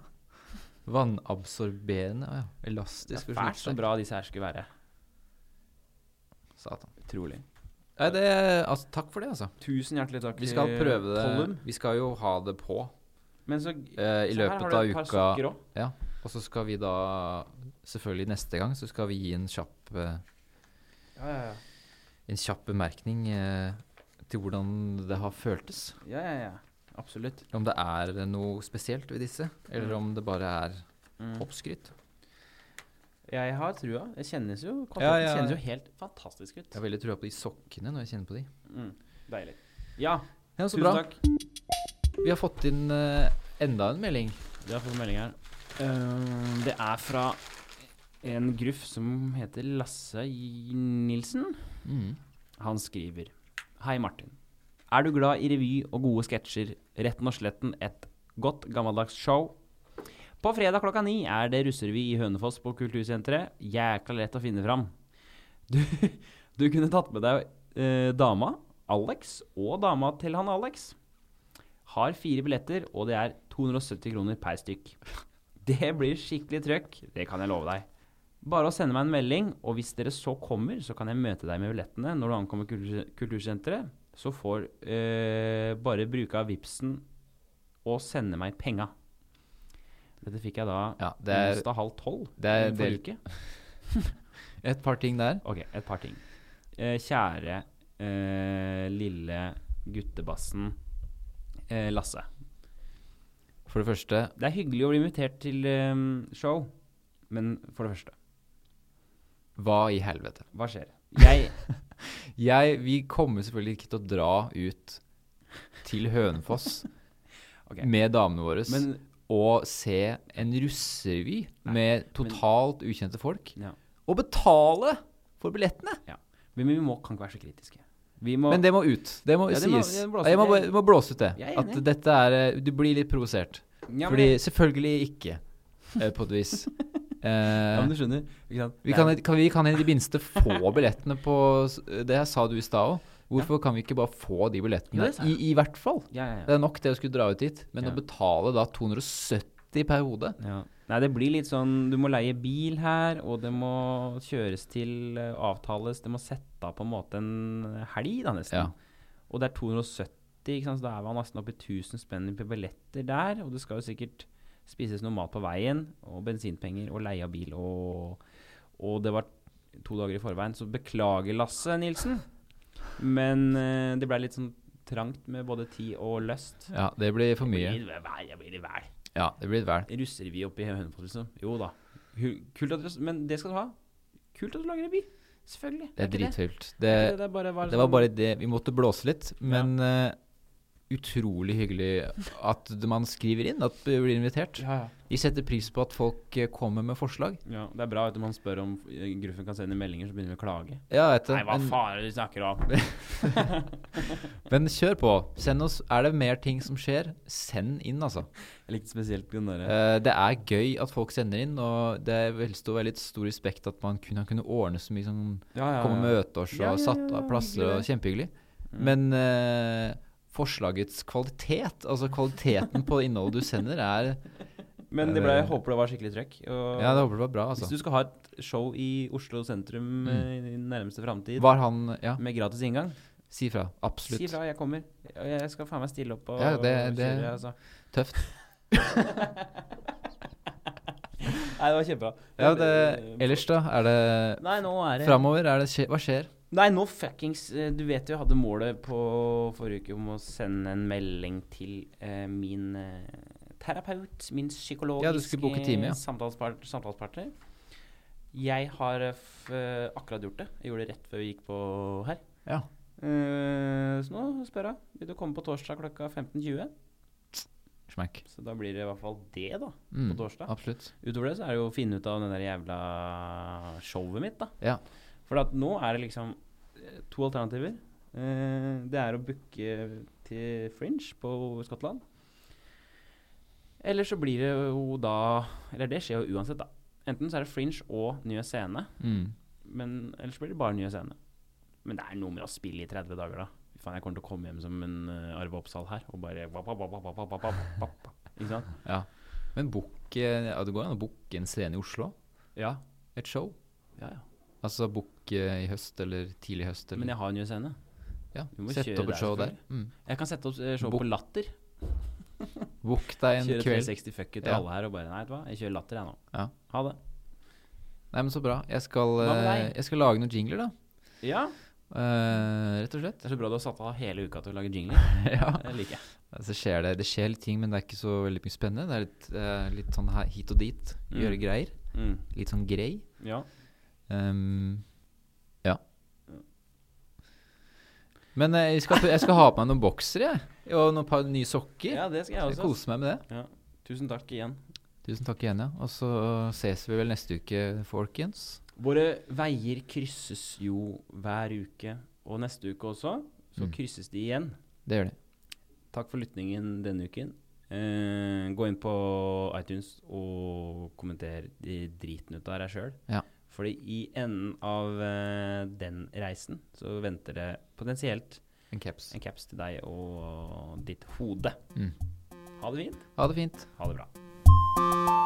Vannabsorberende. Å ja.
Det
Elastisk.
er fælt så bra disse her skulle være.
Satan.
Utrolig.
Nei, det, altså, takk for det, altså.
Tusen hjertelig takk.
Vi skal
eh,
prøve det.
Tollum.
Vi skal jo ha det på
Men så,
eh, i
så her har
løpet
du
av
et par
uka.
sokker også.
Ja. Og så skal vi da Selvfølgelig neste gang så skal vi gi en kjapp, eh,
Ja, ja, ja.
en kjapp bemerkning eh, til hvordan det har føltes.
Ja, ja, ja. Absolutt.
Om det er noe spesielt ved disse, eller
Mm.
om det bare er Mm. oppskrytt.
Jeg har trua. Det kjennes jo,
Ja, ja, ja.
Det kjennes jo helt fantastisk ut.
Jeg har veldig trua på de sokkene når jeg kjenner på de.
Mm. Deilig. Ja,
Ja, så
tusen
bra.
takk.
Vi har fått inn eh, enda en melding.
Vi har fått en melding her. Eh, det er fra en gruff som heter Lasse J- Nilsen.
Mm.
Han skriver Hei, Martin. Er du glad i revy og gode sketsjer? Retten og sletten et godt gammeldags show? På fredag klokka ni er det russerevy i Hønefoss på Kultursenteret. Jækla lett å finne fram. Du, du kunne tatt med deg eh, dama, Alex, og dama til han Alex. Har fire billetter, og det er 270 kroner per stykk. Det blir skikkelig trøkk, det kan jeg love deg. Bare å sende meg en melding, og hvis dere så kommer, så kan jeg møte deg med billettene når du ankommer kultur kultursenteret. Så får eh, bare bruke av Vipsen og sende meg penga. Dette fikk jeg da
Ja, det er-
onsdag halv tolv
det er
eh,
del-
forrige uke.
Et par ting der.
Ok, et par ting. Eh, kjære eh, lille guttebassen eh, Lasse.
For det første
Det er hyggelig å bli invitert til eh, show, men for det første,
Hva i helvete?
hva skjer? Jeg
Jeg, vi kommer selvfølgelig ikke til å dra ut til Hønefoss
Ok.
med damene våre
Men
og se en russerevy
Nei,
med totalt ukjente folk
ja.
og betale for billettene!
Men vi må, kan ikke være så kritiske. Vi må
Men det må ut. Det må
Ja, det må-
sies.
det må blåse
jeg må,
ut.
bare- jeg må blåse ut det.
Jeg er
At
enig.
dette er eh, Du blir litt provosert.
ja, men,
Fordi selvfølgelig ikke, eh, på et vis.
ja,
Eh,
men du skjønner. Ikke sant?
vi,
Det
kan,
er-
kan vi kan i det minste få billettene på s- Det her sa du i stad òg. Hvorfor kan vi ikke bare få de
Jo,
billettene?
det sa
I,
jeg.
I hvert fall.
ja, ja,
Det
ja.
er nok det å skulle dra ut dit, men
Ja.
å betale da 270 60 per hode.
Ja. Nei, det blir litt sånn Du må leie bil her, og det må kjøres til, eh, avtales Det må sette av på en måte en helg, da, nesten.
Ja.
Og det er 270, ikke sant? så da er man nesten oppe i 1000 spenn på billetter der. Og det skal jo sikkert spises noe mat på veien, og bensinpenger, og leie av bil, og Og det var to dager i forveien, så beklager, Lasse Nilsen. Men eh, det ble litt sånn trangt med både tid og lyst.
Ja, det blir for mye.
Det blir vel- det blir vel.
Ja, det blir et vel.
Russerevy oppi Hønefoss, liksom. Jo da. Hu- Kult at du, men det skal du ha. Kult at du lager revy. Selvfølgelig.
Det er
ikke det.
dritfylt.
Det
Det,
er ikke det, det er sånn- bare, var
det var bare det Vi måtte blåse litt, men eh, utrolig hyggelig at man skriver inn at du blir invitert.
ja, ja.
De setter pris på at folk eh, kommer med forslag.
ja, Det er bra at man spør om eh, Gruffen kan sende meldinger, så begynner vi å klage.
Ja, jeg vet det.
Nei, hva
men-
faen er det du snakker om?
Men kjør på. Send oss Er det mer ting som skjer? Send inn, altså.
Jeg likte spesielt den derre
Eh, det er gøy at folk sender inn, og det er vel stå veldig stor respekt at man kunne, kunne ordne så mye sånn
ja, ja,
Komme med
ja. Mm.
møteårs og
Ja, ja, ja,
satt av
ja,
plasser
hyggelig
og kjempehyggelig. Men eh, forslagets kvalitet, altså kvaliteten på innholdet du sender, er
Men det ble, jeg håper det var skikkelig trøkk. Og
Ja, det håper jeg var bra,
hvis
altså. Mm.
du skal ha et show i Oslo sentrum eh, i nærmeste framtid
Var han Ja,
med gratis inngang,
si fra.
Mm. si
Absolutt.
fra. Jeg kommer. Og Jeg skal faen meg stille opp og
Ja, det- det-
kjøre, altså.
Tøft.
Nei, det var kjempebra. eh,
Ja, det, ellers, da? Er det
Nei, nå er det
Framover? Er det skje, hva skjer?
Nei, nå fuckings eh, Du vet jo jeg hadde målet på forrige uke om å sende en melding til eh, min eh, terapeut, min psykologiske
Ja, du skulle boke time, ja.
samtalespart- samtalepartner. Jeg har eh, f eh, akkurat gjort det. Jeg gjorde det rett før vi gikk på her.
Ja.
Eh, så nå spør jeg. Vil du komme på torsdag klokka 15.20?
Smekk.
Så da blir det i hvert fall det, da.
Mm,
På torsdag.
absolutt.
Utover det så er det jo å finne ut av den der jævla showet mitt, da.
Ja.
For at nå er det liksom eh, to alternativer. Eh, det er å booke til Fringe på Skottland. Eller så blir det jo da Eller det skjer jo uansett, da. Enten så er det Fringe og Nye Scene,
Mm.
men ellers blir det bare Nye Scene. Men det er noe med å spille i 30 dager, da. Fy Faen, jeg kommer til å komme hjem som en eh, Arve Oppsal her og bare wap, wap, wap, wap, wap, wap, wap, wap. Ikke sant?
Ja. Men book, eh, ja, det går an å booke en scene i Oslo?
Ja.
Et show?
ja, ja.
Altså booke i høst eller tidlig høst? Eller,
Men jeg har Nye Scene.
ja.
vi må
Sette
kjøre
opp
der,
et show der.
selvfølgelig.
Mm.
Jeg kan sette opp eh, show
Bo-
på Latter.
Book deg en
Kjøre
kveld.
360 fuck it til
Ja.
alle her og bare Nei, vet du hva, jeg kjører Latter, jeg nå.
Ja.
Ha det.
Nei, men så bra. Jeg skal,
Hva med
eh,
deg?
jeg skal lage noen jingler, da.
Ja.
Eh, rett og slett.
Det er så bra du har satt av hele uka til å lage jingler.
ja.
Det liker jeg.
Så skjer det, det skjer litt ting, men det er ikke så veldig mye spennende. Det er litt, eh, litt sånn her, hit og dit.
Mm.
Gjøre greier.
Mm.
Litt sånn grei.
Ja.
Ehm, ja. Men eh, jeg, skal, jeg skal ha på meg noen boksere, jeg. Og noen par nye sokker.
ja, det skal jeg
Jeg
også.
koser meg med det.
Ja. Tusen takk igjen.
Tusen takk igjen, ja. Og så ses vi vel neste uke, folkens.
Våre veier krysses jo hver uke, og neste uke også. Så
Mm.
krysses de igjen.
Det gjør de.
Takk for lytningen denne uken. Eh, gå inn på iTunes og kommenter de driten ut av deg sjøl.
Ja.
Fordi i enden av eh, den reisen så venter det potensielt
En caps.
en caps til deg og ditt hode.
Mm.
Ha det fint.
Ha det fint.
Ha det bra.